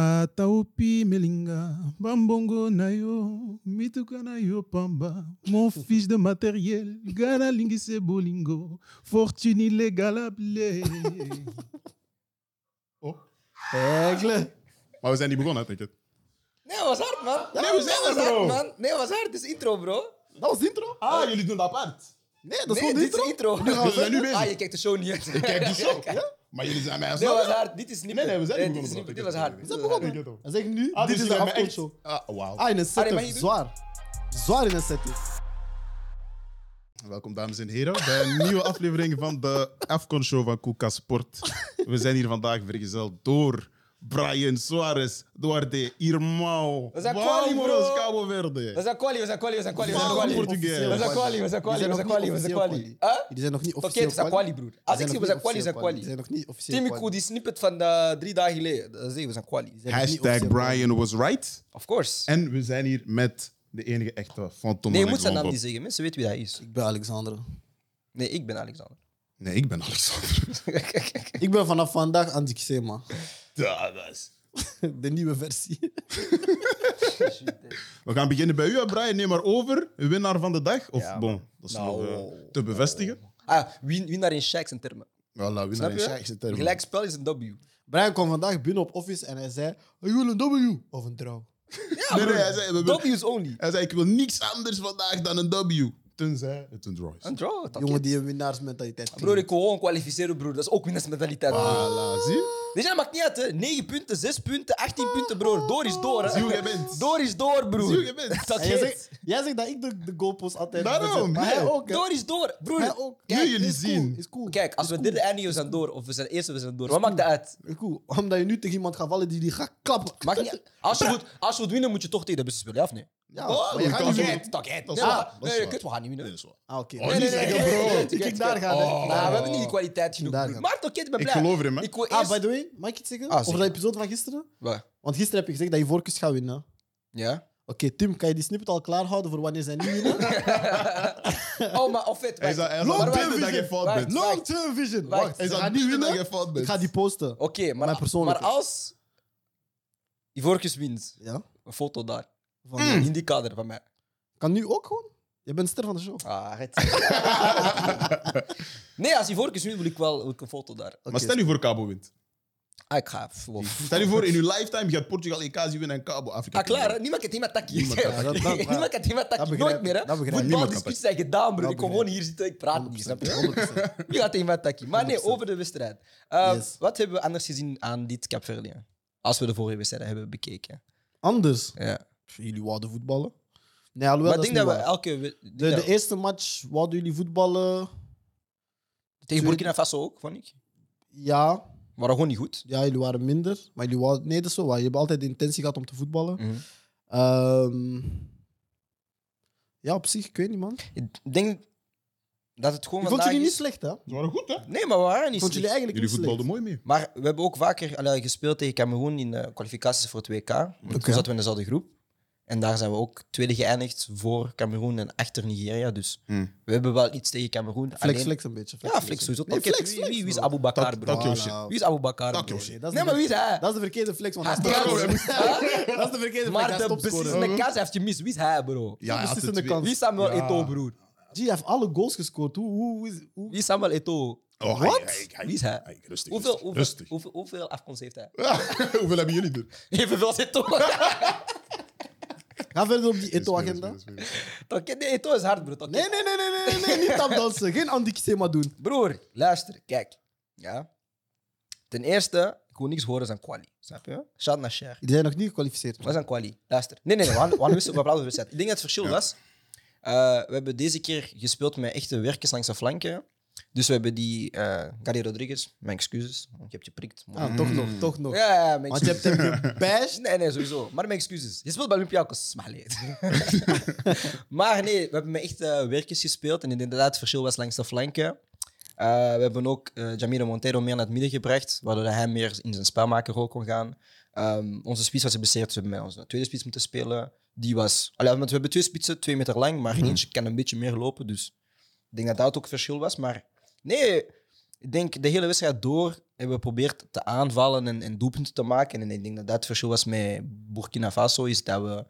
Ataupi melinga, bambongo na yo, mituka na yo pamba, mon fils de matériel, gana lingi se bolingo, fortune illegalable. Oh, Hekelen. Maar we zijn niet begonnen, denk ik. Nee, was hard, man. Nee, we zijn er, was bro. hard, man. Nee, was hard. Dit is intro, bro. Dat was de intro? Ah, jullie doen dat apart. Nee, dat is nee, gewoon de dit intro. is intro. Nu gaan we We zijn nu verder. bezig. Ah, je kijkt de show niet uit. Ik kijk die show. Ja? Maar jullie zijn mij Nee, was hard. Dit is niet. Nee, nee, we zijn niet dit is begonnen, bro. Dit was hard. We zijn Dit Ik begonnen. weet het Dan zeg ik nu, dus dit is de afkoopshow. Ah, wauw. Ah, in een setup. maar je doet- Zwaar. Zwaar in een Ah, setup. Welkom, dames en heren, bij een nieuwe aflevering van de Afcon Show van Kuka Sport. We zijn hier vandaag vergezeld door Brian Suarez, Duarte Irmão, is een kwalie, bro. Vamos, Cabo Verde. was een quali, was een quali, was een quali, was een Waarom quali. wordt u- Portugees. Dat is een quali, dat is een quali, Die dat is zijn nog een niet quali, dat is een officieel quali. Huh? Die zijn nog niet Oké, officieel het is een quali, broer. Die Als zijn ik zeg, nog we zijn quali, niet is een officieel quali. Die zijn nog niet officieel Timiko, die snippet van de drie dagen geleden. Dat zeggen we zijn quali. zijn- nog niet Hashtag officieel Brian was right. Of course. En we zijn hier met de enige echte Phantom Nee, je Alex moet zijn naam Lombok. niet zeggen. Mensen weten wie hij is. Ik ben Alexander. Nee, ik ben Alexander. Nee, ik ben Alexander. Ik ben vanaf vandaag Andy Xema. Ja, dat is- De nieuwe versie. eh. We gaan beginnen bij u, hè, Brian. Neem maar over. Winnaar van de dag. Of Ja. bon, dat is Nou. nog eh, te bevestigen. Ah, win- winnaar in Shaq's en termen. Voilà, winnaar Snap in je? Sjaakse termen. Gelijk spel is een W. Brian kwam vandaag binnen op office en hij zei... Ik wil een W of een trouw. Nee, nee, hij zei, we- we- W's only. Hij zei, ik wil niks anders vandaag dan een W. Tenzij het een draw is. Een draw, dat Jongen die een winnaarsmentaliteit heeft. Broer, ik wil gewoon kwalificeren, broer. Dat is ook winnaarsmentaliteit. broer. Voilà, zie je? Weet je, dat maakt niet uit, hè. 9 punten, 6 punten, 18 punten, broer. Door is door, hè. Zie hoe jij bent. Door is door, broer. Zie hoe jij bent. Dat En jij, heet- zegt, jij zegt dat ik de, de goalpost altijd Daarom, bezet, Maar hij nee. ook. hè. Door is door, broer. Hij ook. Nu Kijk, jullie is cool, zien. is cool. Kijk, als we derde eindigen, we zijn door. Of we zijn eerste, we zijn door. Wat maakt dat uit? Is cool. Omdat je nu tegen iemand gaat vallen die die gaat klappen. Maakt niet uit. Als je, goed, als je moet winnen, moet je toch tegen de beste spelen, ja of nee? Ja, Oh, je maar je gaat kan niet zo- winnen. Dat kan Dat is waar, Ja, dat is nee, waar. kut, we gaan niet winnen. Nee, dat is waar. Ah, oké. Oh, niet zeggen, bro. Kijk, kijk, daar gaat Oh. het. Nou, Daar. we hebben niet die kwaliteit genoeg. Daar broer. gaat- Maar toch, kid, ik ben Ik blij. geloof in hem, hè. Ik wil eerst... Ah, by the way, mag ik iets zeggen? Ah, Over zeker. de episode van gisteren? Wat? Want gisteren heb je gezegd dat je voorkeurs gaat winnen. Oké, Ja? Tim, kan je die snippet al klaarhouden voor wanneer zij niet winnen? Oh, maar of het... Hij is al- hij is wacht, al wacht, beter dat wacht, je fout wacht, bent. wacht. Long term vision. Wacht, Wacht, Hij ze is gaan al niet beter dat winnen. je fout Ik bent. ga die posten. Oké, Mijn maar, maar persoonlijke. als Ivorcus wint, Ja. een foto daar. Van- In die kader van mij. Kan nu ook gewoon. Je bent ster van de show. Ah, het. nee, als Ivorcus wint, wil ik wel wil ik een foto daar. Maar stel je voor Cabo wint. Ah, ik ga. pff, wow. Stel je voor, in uw lifetime gaat Portugal Ecazi winnen en Cabo Afrika. Ah, klaar, hè? niemand kan iemand takkie. Niemand kan takkie. Ja, dat- dat- Niemand kan iemand dat takkie. begrijp Nooit meer, hè? ik, dat begrijp ik. Niemand kan Voetbaldiscussies zijn gedaan, bro. Dat Ik kom begrijp gewoon hier zitten, ik praat niet. Snap 100%. je? Wie gaat iemand takkie? Maar nee, 100%. over de wedstrijd. Ehm, Yes. Wat hebben we anders gezien aan dit Capverdien? Als we de vorige wedstrijd hebben bekeken. Anders. Ja. Pff, Jullie wouden voetballen. Nee, alhoewel, Maar ik dat is denk niet dat we waar. elke. we- ik De, denk de dat- eerste match wouden jullie voetballen. Tegen Burkina Faso ook, vond ik. Ja, Maar gewoon niet goed. ja, jullie waren minder. Maar jullie wouden... Nee, dat is zo waar. Je hebt altijd de intentie gehad om te voetballen. Mhm. Ehm, ja, op zich, ik weet niet, man. Ik denk dat het gewoon Ik vond vandaag jullie niet is- slecht, hè? Ik Ze waren goed, hè? Nee, maar we waren niet vond jullie slecht. eigenlijk Jullie niet slecht. voetbalden mooi mee. Maar we hebben ook vaker allee, gespeeld tegen Cameroen in de kwalificaties voor het WK. Want Oké. Toen zaten we in dezelfde groep. En daar zijn we ook tweede geëindigd voor Cameroen en achter Nigeria. Dus Hmm. we hebben wel iets tegen Cameroen. Flex, Alleen- flex een beetje. Ja, flex sowieso. Nee, Oké, flex, wie, flex, wie, wie is bro. Abu Bakar, Dat- bro? dat- Voilà. shit. Wie is Abu Bakar? Dat- bro? joh, shit. Dat is Nee, de- maar wie is hij? Dat is de verkeerde flex, want Hij hij is staat- trouwens- Dat is de verkeerde flex, Maar hij de stopt scoren. beslissende kans heeft je mis. Wie is hij, bro? Ja, hij had beslissende het weer. kans. Wie is Samuel Ja. Eto'o, broer? G, hij heeft alle goals gescoord. Hoe, hoe, is- hoe- Wie is Samuel Eto'o? Oh, Wat? hij- hij- hij- Wie is hij? hij- Rustig, Hoeveel, rustig, hoeveel, rustig. hoeveel, hoeveel afkomst heeft hij? Hoeveel hebben jullie er? Evenveel als Eto'o. Ga verder op die Spelen, Eto-agenda. spelen, spelen, spelen. Toch, Nee, Eto'o is hard, bro. Toch, Nee, nee, nee, nee, nee, nee, nee, niet tapdansen. Geen Andy Kisema doen. Broer, luister, kijk. Ja. Ten eerste, ik wil niks horen van Kwali. Snap je? Shout naar Cher. Die zijn nog niet gekwalificeerd. Wat is aan Kwali? Luister. Nee, nee, nee. We hadden- we hadden wisten- we hadden de wedstrijd. Ik denk dat het verschil was. eh, we hebben deze keer gespeeld met echte werkers langs de flanken. Dus we hebben die eh Gary Rodriguez, mijn excuses, want je hebt je prikt. Ah, toch nog, toch nog. ja, ja, mijn Want je excuses. hebt hem gebashed. Nee, nee, sowieso. Maar mijn excuses. Je speelt bij Olympiakos, maar nee. maar nee, we hebben met echt eh, werkjes gespeeld. En inderdaad, het verschil was langs de flanken. Eh, we hebben ook eh Jamiro Montero meer naar het midden gebracht, waardoor hij meer in zijn spelmakerrol kon gaan. Ehm, onze spits was geblesseerd, dus we hebben met onze tweede spits moeten spelen. Die was... Allee, want we hebben twee spitsen, twee meter lang, maar eentje kan een beetje meer lopen. Dus ik denk dat dat ook het verschil was. Maar nee, ik denk de hele wedstrijd door hebben geprobeerd te aanvallen en, en doelpunten te maken. En ik denk dat dat het verschil was met Burkina Faso, is dat we...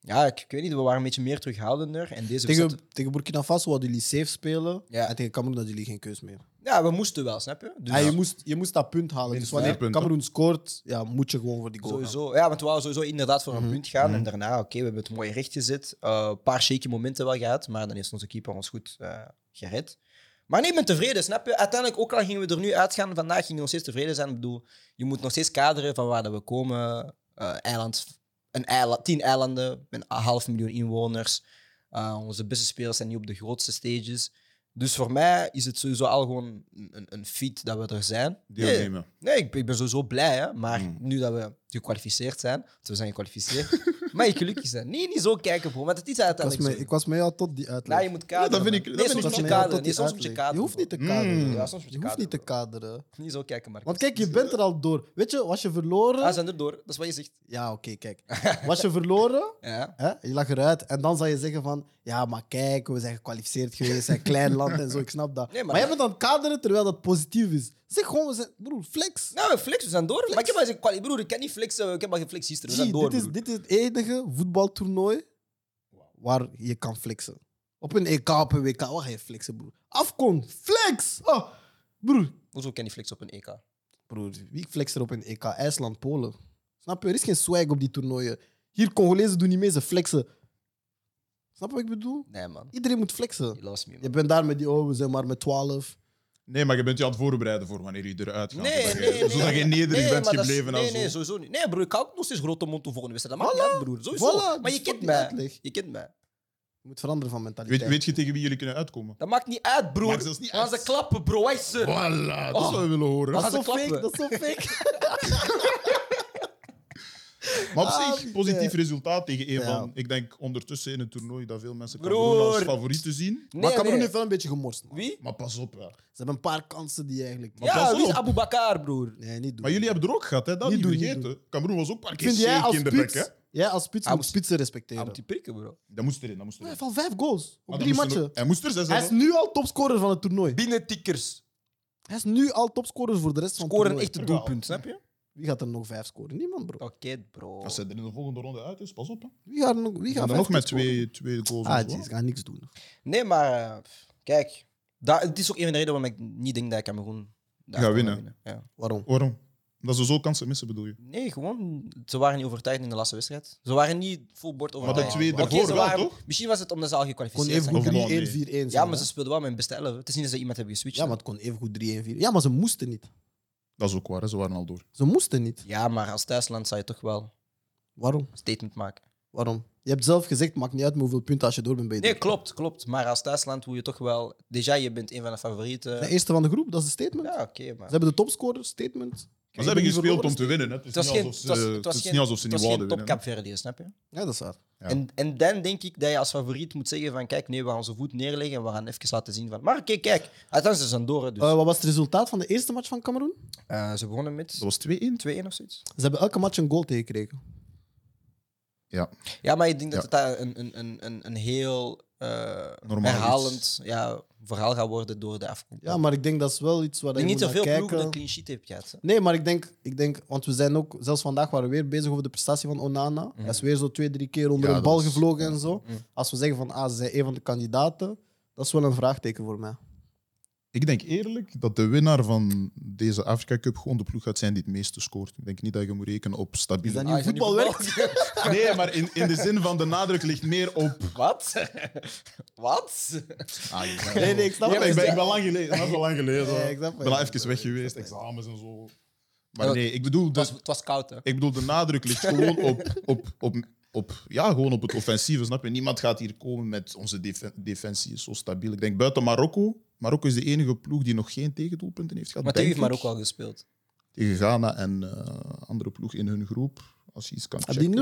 Ja, ik, ik weet niet, we waren een beetje meer terughoudender. En deze wedstrijd- Hmm. Tegen, tegen Burkina Faso hadden jullie safe spelen. Ja. En tegen Cameroen hadden jullie geen keus meer. Ja, we moesten wel, snap je? Dus Ja, Ah, je, moest, je moest dat punt halen. Dus Minstens wanneer vijf punten. Cameroen scoort, ja, moet je gewoon voor die goal gaan. Sowieso. Ja, want we wouden sowieso inderdaad voor een punt gaan. En daarna, oké, we hebben het mooi recht gezet. Eh, Een paar shaky momenten wel gehad, maar dan heeft onze keeper ons goed eh, gered. Maar nee, ik ben tevreden, snap je? Uiteindelijk, ook al gingen we er nu uitgaan, vandaag gingen we nog steeds tevreden zijn. Ik bedoel, je moet nog steeds kaderen van waar dat we komen. Eh, eiland, een eiland, tien eilanden, met een half miljoen inwoners. Eh, onze beste spelers zijn niet op de grootste stages. Dus voor mij is het sowieso al gewoon een, een- een feat dat we er zijn. Nee, Deelnemen. Nee, ik, ik ben sowieso blij, hè? maar Mm. nu dat we gekwalificeerd zijn, want we zijn gekwalificeerd, mag je gelukkig zijn. Nee, niet zo kijken, bro, want het is Ik was, uiteindelijk mee, zo. ik was mee al tot die uitleg. Nee, je moet kaderen. Ja, dat vind ik- man. dat Nee, vind soms ik- moet je dat kaderen. Nee, soms moet je kaderen. Je hoeft niet te bro. kaderen. Mm. Ja, soms moet je Je hoeft niet te kaderen, kaderen. bro. Niet zo kijken, maar. Want kijk, je bent er al door. Weet je, was je Ah, verloren... zijn er door. Dat is wat je zegt. Ja, oké, kijk. Was je verloren, Ja. hè? je lag eruit. En dan zou je zeggen van... Ja, maar kijk, we zijn gekwalificeerd geweest. We zijn een klein land en zo. Ik snap dat. Nee, maar- maar jij bent aan het kaderen terwijl dat positief is. Zeg gewoon, we zijn... Broer, flex. Nou, we flexen, we zijn door. Maar ik heb maar eens kwali- broer, ik kan niet flexen. Ik heb maar geflext gisteren. We Zie, zijn door, dit, is, broer. dit is het enige voetbaltoernooi waar je kan flexen. Op een EK, op een WK, waar ga je flexen, broer? Afkon, flex! Oh, broer. Hoezo kan niet flexen op een EK? Broer, wie flext er op een EK? IJsland, Polen. Snap je? Er is geen swag op die toernooien. Hier, Congolezen doen niet mee, ze flexen. Snap je wat ik bedoel? Nee, man. Iedereen moet Je flexen. lost me, Je man. bent daar met die, oh, we zijn maar met 12. Nee, maar je bent je aan het voorbereiden voor wanneer je eruit gaat. Nee, nee, zodat je, nee. Zodat je nederig Nee, bent maar dat is- gebleven. Nee, als nee, zo. sowieso niet. Nee, broer, ik hou ook nog steeds grote mond toe volgende wedstrijd. Dat maakt niet uit, broer. Sowieso. Voilà, Maar dus je kent fuck die mij. uitleg. Je kent mij. Je moet veranderen van mentaliteit. weet, weet je tegen wie jullie kunnen uitkomen? Dat maakt niet uit, broer. Maakt zelfs niet We gaan uit. ze klappen, bro. Wij ze. Voilà, dat Oh. zou je willen horen. Als- dat is gaan zo ze fake, klappen. dat is zo fake. Maar op Ah, zich, positief resultaat tegen een Ja. van... Ik denk ondertussen in het toernooi dat veel mensen Broer. Cameroen als favoriet te zien. Nee, maar Cameroen nee. heeft wel een beetje gemorst. man. Wie? Maar pas op, hè. Ze hebben een paar kansen die je eigenlijk... Maar pas Ja, wie is op. Abu Bakar, broer? Nee, niet doen. Maar jullie hebben er ook gehad, hè? Dat Niet niet, doen, niet vergeten. Cameroen was ook een paar keer Vind jij zeker als in de bek, spits... hè? Jij als spits Hij moet moest- spitsen Hij respecteren. moet die prikken, bro. Dat moest erin, dat moest Hij erin. heeft al vijf goals op Maar dat drie moest er- matchen. Hij moest er zijn, Hij is nu al topscorer van het toernooi. Binnentikkers. Hij is nu al topscorer voor de rest van het Scoren toernooi. echt een doelpunt, snap je? Wie gaat er nog vijf scoren? Niemand, bro. Oké, bro. Als ze er in de volgende ronde uit is, pas op. Hè. Wie gaat er nog, wie We gaat gaan dan vijf nog met scoren? twee, twee goals. Ah, en zo. jeez, ik ga niks doen. Nee, maar eh, pff, kijk. daar- Het is ook een van de redenen waarom ik niet denk dat Cameroen daar Gaat kan winnen. Ja. Waarom? Waarom? Dat ze zo kansen missen, bedoel je? Nee, gewoon. Ze waren niet overtuigd in de laatste wedstrijd. Ze waren niet vol bord overtuigd. twee Oké, daarvoor ze wel, waren- toch? Misschien was het omdat ze al Kon gekwalificeerd even goed Of zijn. gewoon 3-1, 4-1 nee. zijn. Ja, maar hè? ze speelden wel met hun beste elf. Het is niet dat ze iemand hebben geswitcht. Ja, maar het kon even goed 3-1, 4 Ja, maar ze moesten niet. Dat is ook waar, hè. ze waren al door. Ze moesten niet. Ja, maar als thuisland zou je toch wel Waarom? een statement maken. Waarom? Je hebt zelf gezegd, maakt niet uit met hoeveel punten als je door bent bij je Nee, doel. klopt, klopt. Maar als thuisland wil je toch wel. Deja, je bent een van de favorieten. De eerste van de groep, dat is de statement. Ja, Ze oké, maar. hebben de topscorer, statement. Maar ze hebben niet gespeeld om verloren. te winnen. Hè. Het is Het was niet geen, alsof ze- het was- het het was is geen- niet alsof ze het niet was geen wouden winnen. hè. topcapverdier, snap je? Ja, dat is waar. Ja. En, en dan denk ik dat je als favoriet moet zeggen van kijk, nee, we gaan onze voet neerleggen en we gaan even laten zien van... Maar oké, kijk, uiteindelijk ze zijn door, hè, dus. Eh, wat was het resultaat van de eerste match van Cameroen? Eh, ze begonnen met Dat was 2-1. 2-1 of zoiets. Ze hebben elke match een goal tegengekregen. Ja. Ja, maar ik denk dat Ja. het daar een, een, een, een, een heel eh, Normaal herhalend ja, verhaal gaat worden door de afkomst. Ja, maar ik denk dat is wel iets ik waar denk je niet moet zoveel naar ploegen een kijken. clean sheet heeft gehad. hè. Nee, maar ik denk, ik denk, want we zijn ook, zelfs vandaag waren we weer bezig over de prestatie van Onana. Hij is weer zo twee, drie keer Mhm. onder Ja, een dat Mhm. bal was- gevlogen en zo. Als we zeggen van, ah, ze zijn een van de kandidaten, dat is wel een vraagteken voor mij. Ik denk eerlijk dat de winnaar van deze Afrika Cup gewoon de ploeg gaat zijn die het meeste scoort. Ik denk niet dat je moet rekenen op Is stabiele... dat niet hoe Ah, is dat voetbal niet werkt? voetbal? Nee, maar in, in de zin van de nadruk ligt meer op... Wat? Wat? Ah, Nee, nee, ik snap Ja, het. maar ik ben, ik ben lang geleden. Dat is wel lang geleden. Ja, Ik ik snap het. ben al even weg geweest, examens en zo. Ja, Maar nee, ik bedoel, Het was, dus, het was koud, hè? ik bedoel de nadruk ligt gewoon op, op, op, op, ja, gewoon op het offensieve, snap je? Niemand gaat hier komen met onze defen- defensie is zo stabiel. Ik denk buiten Marokko. Marokko is de enige ploeg die nog geen tegendoelpunten heeft gehad. Maar tegen denk heeft maar ik. ook al gespeeld. Tegen Ghana en eh, andere ploeg in hun groep. Als je iets kan Hebben checken. die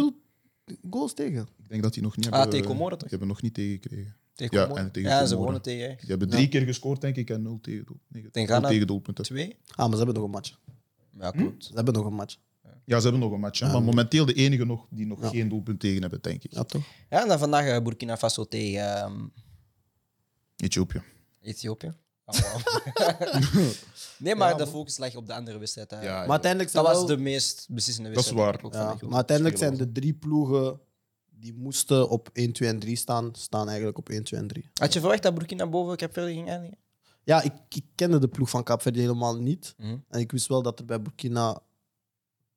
nul goals tegen? Ik denk dat die nog niet Ah, hebben... tegen Comoren toch? Die hebben nog niet tegengekregen. Tegen Ja, Comoren. en tegen ja, ze Comoren. wonnen tegen hè. Die hebben drie keer gescoord, denk ik, en nul tegendoelpunten. Tegen Ghana- tegendoelpunten. twee. Hm? Ah, maar ze hebben nog een match. Ja, klopt. Ze hebben nog een match. Ja, ze hebben nog een match. hè, maar momenteel de enige nog die nog geen doelpunt tegen hebben, denk ik. Ja, toch? Ja, en dan vandaag eh, Burkina Faso tegen ehm, Ethiopië. Ethiopië. Ah, wow. nee, maar Ja, de man. focus lag op de andere wedstrijd. Ja, hè. Maar uiteindelijk Ah, Dat zijn was wel- de meest beslissende Dat is wedstrijd. waar. ook van Ja, de groep. maar uiteindelijk zijn spelen de drie ploegen die moesten op 1, 2 en 3 staan, staan eigenlijk op 1, 2 en 3. Had je verwacht dat Burkina boven Capverde ging eindigen? Ja, ik, ik kende de ploeg van Kaapverdi helemaal niet. Mhm. En ik wist wel dat er bij Burkina...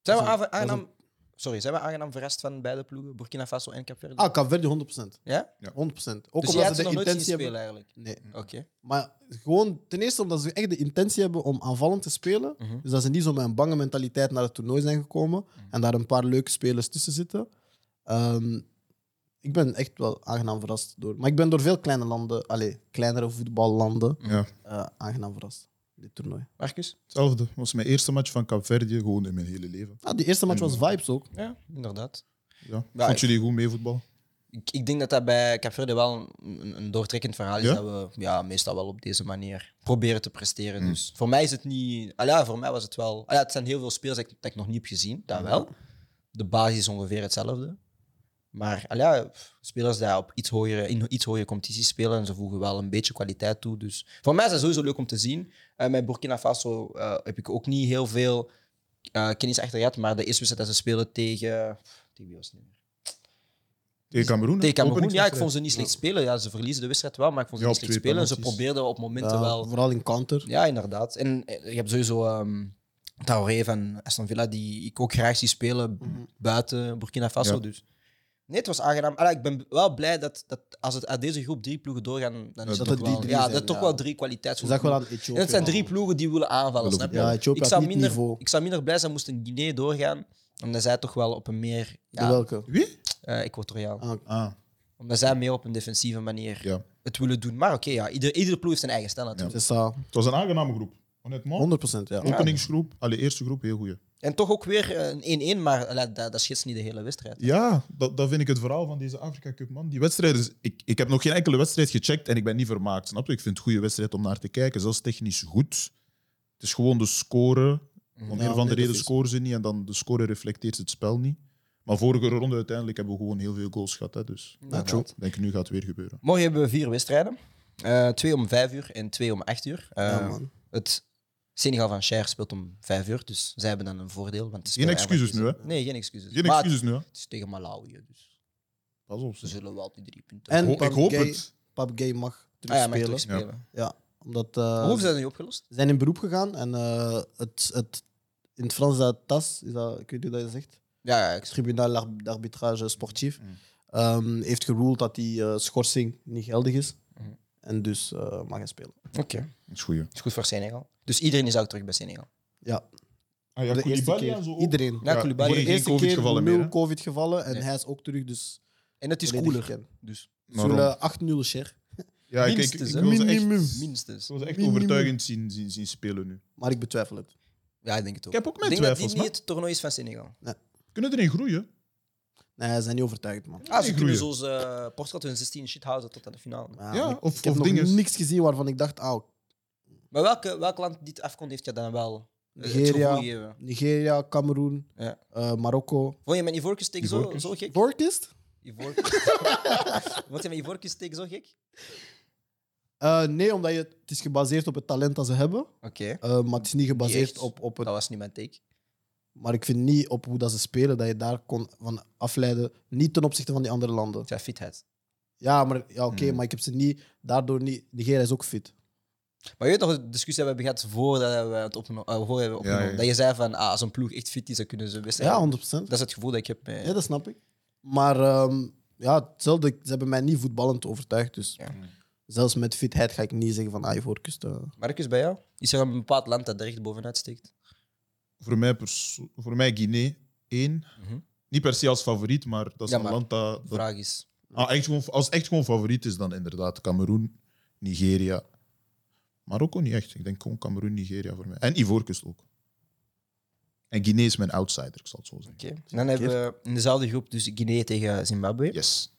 Zijn we Dat is een- aangenaam... dat Sorry, zijn we aangenaam verrast van beide ploegen? Burkina Faso en Capverde? Ah, Kaapverdi 100%. ja? 100%. Ook Dus jij had omdat ze ze de nog nooit zien intentie spelen hebben... eigenlijk? Nee, Oké. maar gewoon ten eerste omdat ze echt de intentie hebben om aanvallend te spelen. Mhm. Dus dat ze niet zo met een bange mentaliteit naar het toernooi zijn gekomen. En daar een paar leuke spelers tussen zitten. Ehm, ik ben echt wel aangenaam verrast door. Maar ik ben door veel kleine landen, allee, kleinere voetballanden, Ja, Mhm. eh, aangenaam verrast. Dit toernooi. Marcus? hetzelfde. Dat was mijn eerste match van Capverdië, gewoon in mijn hele leven. Ah, die eerste match was Mhm. vibes ook. Ja, inderdaad. Ja. Ja, Vond ik- jullie goed mee voetbal? Ik, ik denk dat dat bij Capverde wel een, een- een doortrekkend verhaal is. Ja? Dat we ja, meestal wel op deze manier proberen te presteren. Dus voor mij is het niet. Ah ja, voor mij was het wel. Ah ja, het zijn heel veel spelers dat ik, dat ik nog niet heb gezien. Dat wel. De basis is ongeveer hetzelfde. Maar ah ja, pff, spelers die op iets hogere, in iets hogere competities spelen en ze voegen wel een beetje kwaliteit toe. Dus voor mij is dat sowieso leuk om te zien. Eh, met Burkina Faso eh, heb ik ook niet heel veel eh, kennis achter gehad. Maar de eerste wedstrijd dat ze spelen tegen. Tegen wie was het nu? Tegen Cameroen? Tegen Cameroen, ja, Openingswedstrijd. ik vond ze niet slecht spelen. Ja, ze verliezen de wedstrijd wel, maar ik vond ze Ja, niet op slecht twee spelen. En ze penalties. probeerden op momenten Ja, wel. Eh, Vooral in counter. Ja, inderdaad. En eh, je hebt sowieso ehm Traoré van Aston Villa, die ik ook graag zie spelen buiten Burkina Faso. Ja. Dus nee, het was aangenaam. Allee, ik ben wel blij dat, dat als het uit deze groep drie ploegen doorgaan, dan is dat het het toch die wel, drie ja, zijn, dat toch ja. wel drie Ze kwaliteitsgroepen. zag wel aan En Ethiopië. het zijn drie ploegen die willen aanvallen, snap je? Ja, Ethiopië ik, had zou niet minder, niveau. ik zou minder blij zijn moesten Guinea doorgaan, omdat zij toch wel op een meer De ja, welke? Wie? eh equatoriaal. Ah, Omdat zij meer op een defensieve manier ja. het willen doen. Maar oké, ja, ieder, iedere ploeg heeft zijn eigen stijl natuurlijk. Ze staan Het was een aangename groep. Honnêtement. 100% ja. Openingsgroep, alle eerste groep, heel goeie. En toch ook weer eh, een 1-1, maar eh, dat, dat schetst niet de hele wedstrijd. Ja, dat, dat vind ik het verhaal van deze Afrika Cup, man. Die wedstrijden, is- ik, ik heb nog geen enkele wedstrijd gecheckt en ik ben niet vermaakt, snap je? Ik vind het een goede wedstrijd om naar te kijken, zelfs technisch goed. Het is gewoon de score. Om Ja, een van de nee, reden dat is- scoren ze niet en dan de score reflecteert het spel niet. Maar vorige ronde uiteindelijk hebben we gewoon heel veel goals gehad, hè, dus Inderdaad. ik denk nu gaat het weer gebeuren. Morgen hebben we vier wedstrijden. Eh, twee om vijf uur en twee om acht uur. Eh, Ja, man. het Senegal van Cher speelt om vijf uur, dus zij hebben dan een voordeel. Want ze Geen spelen excuses nu, hè? eigenlijk- Nee, geen excuses. Geen Maar excuses nu, hè? Het, het is tegen Malawi, dus Pas op. ze zeg. zullen wel die drie punten En Ik hoop- ik hoop Gay- het. Pap Gay mag Ah ja, maar terugspelen. terug spelen. ja, omdat... eh, Hoe hebben ze dat nu opgelost? Ze zijn in beroep gegaan en eh, het, het, in het Frans is dat TAS, is dat, ik weet niet hoe dat je zegt, Ja, ja, ik het Tribunal d'Ar- d'Arbitrage Sportief, Mm. ehm, heeft geruled dat die eh, schorsing niet geldig is. Mhm. En dus eh, mag hij spelen. Oké, Dat is goeie. het is goed voor Senegal. Dus iedereen is ook terug bij Senegal. Ja, Ah, voor de eerste keer. Iedereen. Ja, Koulibaly. geen- de eerste geen COVID-gevallen keer meer, nul hè? COVID-gevallen en Nee. hij is ook terug, dus... En het is volledig cooler. gekend. Dus. Zo'n Waarom? eh, 8-0 share. Ja, ik, ik, Minstens, ik hè? wil ze echt, ik Minimum. Minstens. wil ze echt Minimum. overtuigend zien, zien, zien spelen nu. Maar ik betwijfel het. Ja, ik denk het ook. Ik heb ook Ik mijn denk dat dit twijfels, niet maar het toernooi is van Senegal. kunnen erin groeien. Nee, ze zijn niet overtuigd, man. Ah, ze groeien. kunnen zoals eh Portugal 2016 shit houden tot aan de finale. Ja, Ja, ik, of- ik heb of nog dinges. niks gezien waarvan ik dacht, ah, Maar welke, welk land dit afkomt, heeft je dan wel eh, het Nigeria. gevoel gegeven? Nigeria, Cameroen, Ja. eh, Marokko. Vond je mijn Ivorcus steek Ivory zo, Coast. zo gek? Doorkist? Ivorcus. Vond je mijn Ivorcus steek zo gek? Eh, nee, omdat je, het is gebaseerd op het talent dat ze hebben. Oké, Eh, maar het is niet Niet gebaseerd echt. op, op het. dat was niet mijn take. Maar ik vind niet op hoe dat ze spelen dat je daar kon van afleiden. Niet ten opzichte van die andere landen. Het was fitheid. Ja, maar ja, oké, Hmm. maar ik heb ze niet. Daardoor niet. Nigeria is ook fit. Maar je weet nog de discussie die we hebben gehad voordat we het opgeno- eh, voor hebben opgenomen. ja. Dat je zei van, ah, als een ploeg echt fit is, dan kunnen ze best. Ja, 100%. Dat is het gevoel dat ik heb. eh. Ja, dat snap ik. Maar ehm, ja, hetzelfde. Ze hebben mij niet voetballend overtuigd. Dus Ja. zelfs met fitheid ga ik niet zeggen van ah, Ivoorkust. eh. Marcus, bij jou? Is er een bepaald land dat er echt bovenuit steekt? Voor mij, perso- voor mij Guinea één. Mhm. Niet per se als favoriet, maar dat is Ja, een maar- land dat. De dat vraag is... ah, echt gewoon, als het echt gewoon favoriet is, dan inderdaad Cameroen, Nigeria. Marokko niet echt. Ik denk gewoon Cameroen, Nigeria voor mij. En Ivoorkust ook. En Guinea is mijn outsider, ik zal het zo zeggen. Oké. En Dan hebben we in dezelfde groep dus Guinea tegen Zimbabwe. Yes.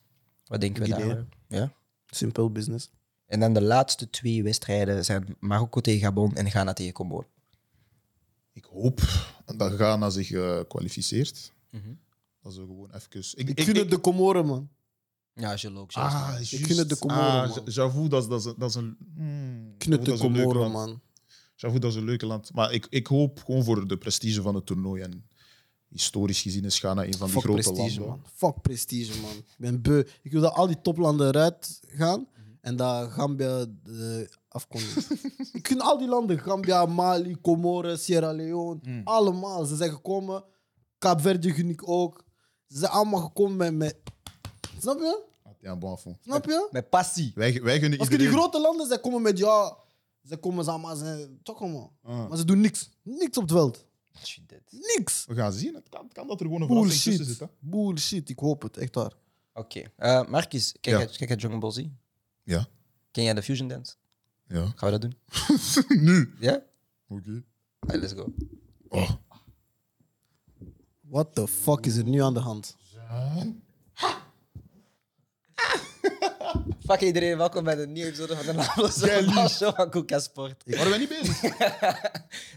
Wat denken we Guinea. daar? Ja. Simpel business. En dan de laatste twee wedstrijden zijn Marokko tegen Gabon en Ghana tegen Congo. Ik hoop dat Ghana zich eh kwalificeert. Mhm. Dat ze gewoon even. Ik gun het de Comoren, man. Ja, Jules ook. Jules. Ah, Ik gun het de Comoren, Ah, man. Mm. j'avoue, dat is, dat is, dat is een... hmm, Knut de dat is een leuk Comoren, land. man. J'avoue, dat is een leuke land. Maar ik, ik hoop gewoon voor de prestige van het toernooi. En historisch gezien is Ghana een van die Fuck grote prestige, landen. Man, Fuck prestige, man. Ik ben beu. Ik wil dat al die toplanden eruit gaan en dat Gambia de afkondigt. ik gun al die landen, Gambia, Mali, Comoren, Sierra Leone, allemaal. Ze zijn gekomen. Kaapverdi gun ik ook. Ze zijn allemaal gekomen met... met... Snap je? Ja, bon, enfin. Snap je? Met passie. wij, wij gunnen Als je iedereen... die grote landen, zij komen met ja... Ze komen samen, ze... Toch allemaal. Ah. Maar ze doen niks. Niks op het veld. Shit. Niks. We gaan zien. Het kan, kan dat er gewoon een verrassing tussen zit. Bullshit. Hè? Bullshit. Ik hoop het, echt waar. Oké. Eh, Marcus, kijk, Ja. jij- kijk jij Dragon Ball Z? Ja. Ken jij de Fusion Dance? Ja. Gaan we dat doen? nu. Ja? Oké. Allee, let's go. Oh. What the fuck is er nu aan de hand? Fuck iedereen, welkom bij de nieuwe episode van de Naamloze lief. Voetbal Show van Koeka Sport. Waren wij niet bezig?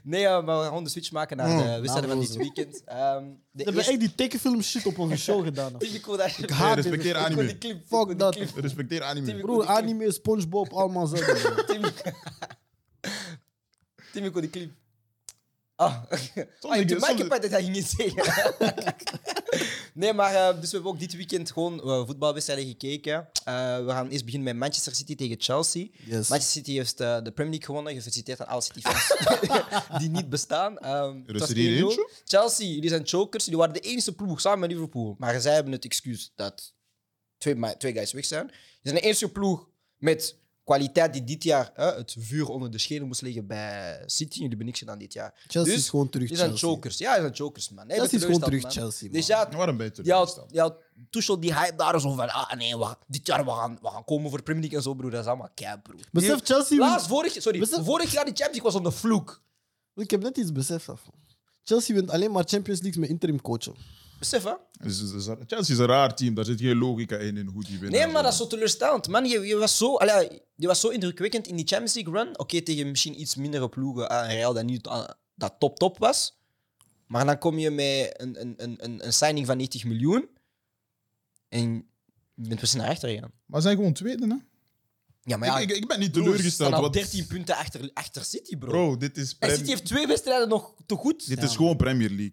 Nee, eh, maar we gaan de switch maken naar de wedstrijden van dit naamloze. weekend. Ehm de Ze hebben eerste... echt die tekenfilm shit op onze show gedaan. Ik wil dat je... Ik haat Nee, respecteer wil anime. die clip, ik wil Fuck die dat. clip. Respecteer anime. Broer, anime, Spongebob, allemaal zo. Tim, Tim, ik wil die clip. Ah, ah ik ik- doe mijn soms- kip uit dat hij ging niet zeggen. nee, maar eh, dus we hebben ook dit weekend gewoon eh, voetbalwedstrijden gekeken. Eh, we gaan eerst beginnen met Manchester City tegen Chelsea. Yes. Manchester City heeft eh, de Premier League gewonnen. Gefeliciteerd aan alle City-fans die niet bestaan. Ehm, het Er is was er hier 1-0. eentje. Chelsea, jullie zijn chokers. Jullie waren de enige ploeg samen met Liverpool. Maar zij hebben het excuus dat twee, ma- twee guys weg zijn. Jullie zijn de enige ploeg met kwaliteit die dit jaar hè, het vuur onder de schenen moest liggen bij City. Jullie hebben niks gedaan dit jaar. Chelsea Dus, is gewoon terug Jullie zijn Chelsea. chokers. Ja, jullie zijn chokers, man. Nee, Chelsea is gewoon terug teleurgesteld, Chelsea, man. Dus ja, Waarom ben je terug? ja, ja, Tuchel die hype daar zo van, ah nee, we, gaan- dit jaar we gaan, we gaan komen voor de Premier League en zo, broer. Dat is allemaal kei, broer. Besef, Die- Chelsea- Laatst, vorig, sorry, Besef- vorig jaar die Champions League was op de vloek. Ik heb net iets beseft daarvan. Chelsea wint alleen maar Champions League met interim coachen. Besef, hè? Dus- dus- dus- Chelsea is een raar team. Daar zit geen logica in, in hoe die winnen. Nee, maar dat is zo teleurstellend. Man, je, je, was zo, allee, je was zo indrukwekkend in die Champions League run. Oké, tegen misschien iets mindere ploegen. ah, Een Real dat niet ah, dat top-top was. Maar dan kom je met een, een, een, een, een signing van 90 miljoen. En je bent precies naar achter gegaan. Maar ze zijn gewoon tweede, hè? Ja, maar ja, ik, ik, ik ben niet broer, ze teleurgesteld. staan al want- 13 punten achter, achter City, bro. Bro, dit is... En prem- City heeft twee wedstrijden nog te goed. Dit Ja. is gewoon Premier League.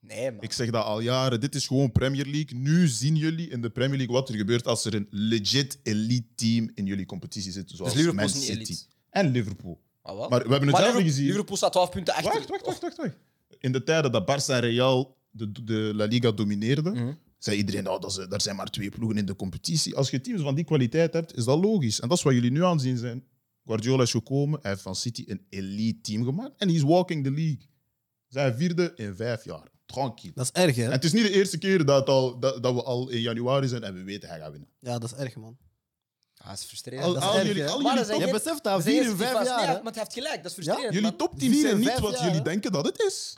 Nee, man. Ik zeg dat al jaren. Dit is gewoon Premier League. Nu zien jullie in de Premier League wat er gebeurt als er een legit elite team in jullie competitie zit. Zoals Dus Liverpool Man is niet City. elite. En Liverpool. Ah, wel. Maar we hebben hetzelfde Liverpool, gezien. Liverpool staat 12 punten achter. Wacht, wacht, wacht, wacht, wacht. In de tijden dat Barça en Real de, de La Liga domineerden, Mhm. zei iedereen oh, dat ze, er zijn maar twee ploegen in de competitie. Als je teams van die kwaliteit hebt, is dat logisch. En dat is wat jullie nu aan het zien zijn. Guardiola is gekomen, hij heeft van City een elite team gemaakt en hij is walking the league. Zijn vierde in vijf jaar. Tranquil. Dat is erg, En hè? het is niet de eerste keer dat, al, dat, dat we al in januari zijn en we weten hij gaat winnen. Ja, dat is erg, man. Ah, dat is frustrerend. Al, dat Dat is is- al erg, jullie, hè. al Maar jullie, dat top, zijn- Je beseft dat, dat is vier de in eerste vijf keer vast- jaar, Nee, hè? Maar het heeft gelijk, dat is frustrerend. jullie man. topteams Vier en zijn niet vijf wat jaar, jullie hè. denken dat het is.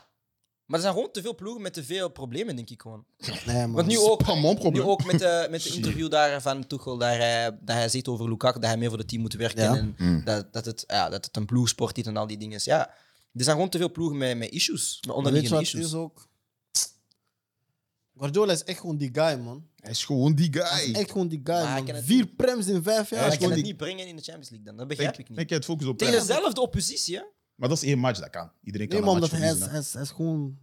Maar er zijn gewoon te veel ploegen met te veel problemen, denk ik gewoon. Nee, man. Want nu is ook, pas mijn nu probleem. ook met, de, met de Shit. interview daar van Tuchel, dat hij, dat hij zegt over Lukaku, dat hij meer voor het team moet werken. Ja. En Mm. dat, dat, het, ja, dat het een ploegsport is en al die dingen. Ja, er zijn gewoon te veel ploegen met, met issues, met Maar Weet je onderliggende wat het issues. is ook? Guardiola is echt gewoon die guy, man. Hij is gewoon die Hij is guy. echt gewoon die guy, hij kan man. het Vier prems in vijf jaar. Ja, is ik kan gewoon het die- niet brengen in de Champions League dan, Denk, dat begrijp ik niet. denk jij het focus op Tegen Premier? dezelfde oppositie, hè? Maar dat is één match, dat kan. Iedereen kan Nee, een man, match omdat hij is, verliezen, hè. hij is- hij is gewoon...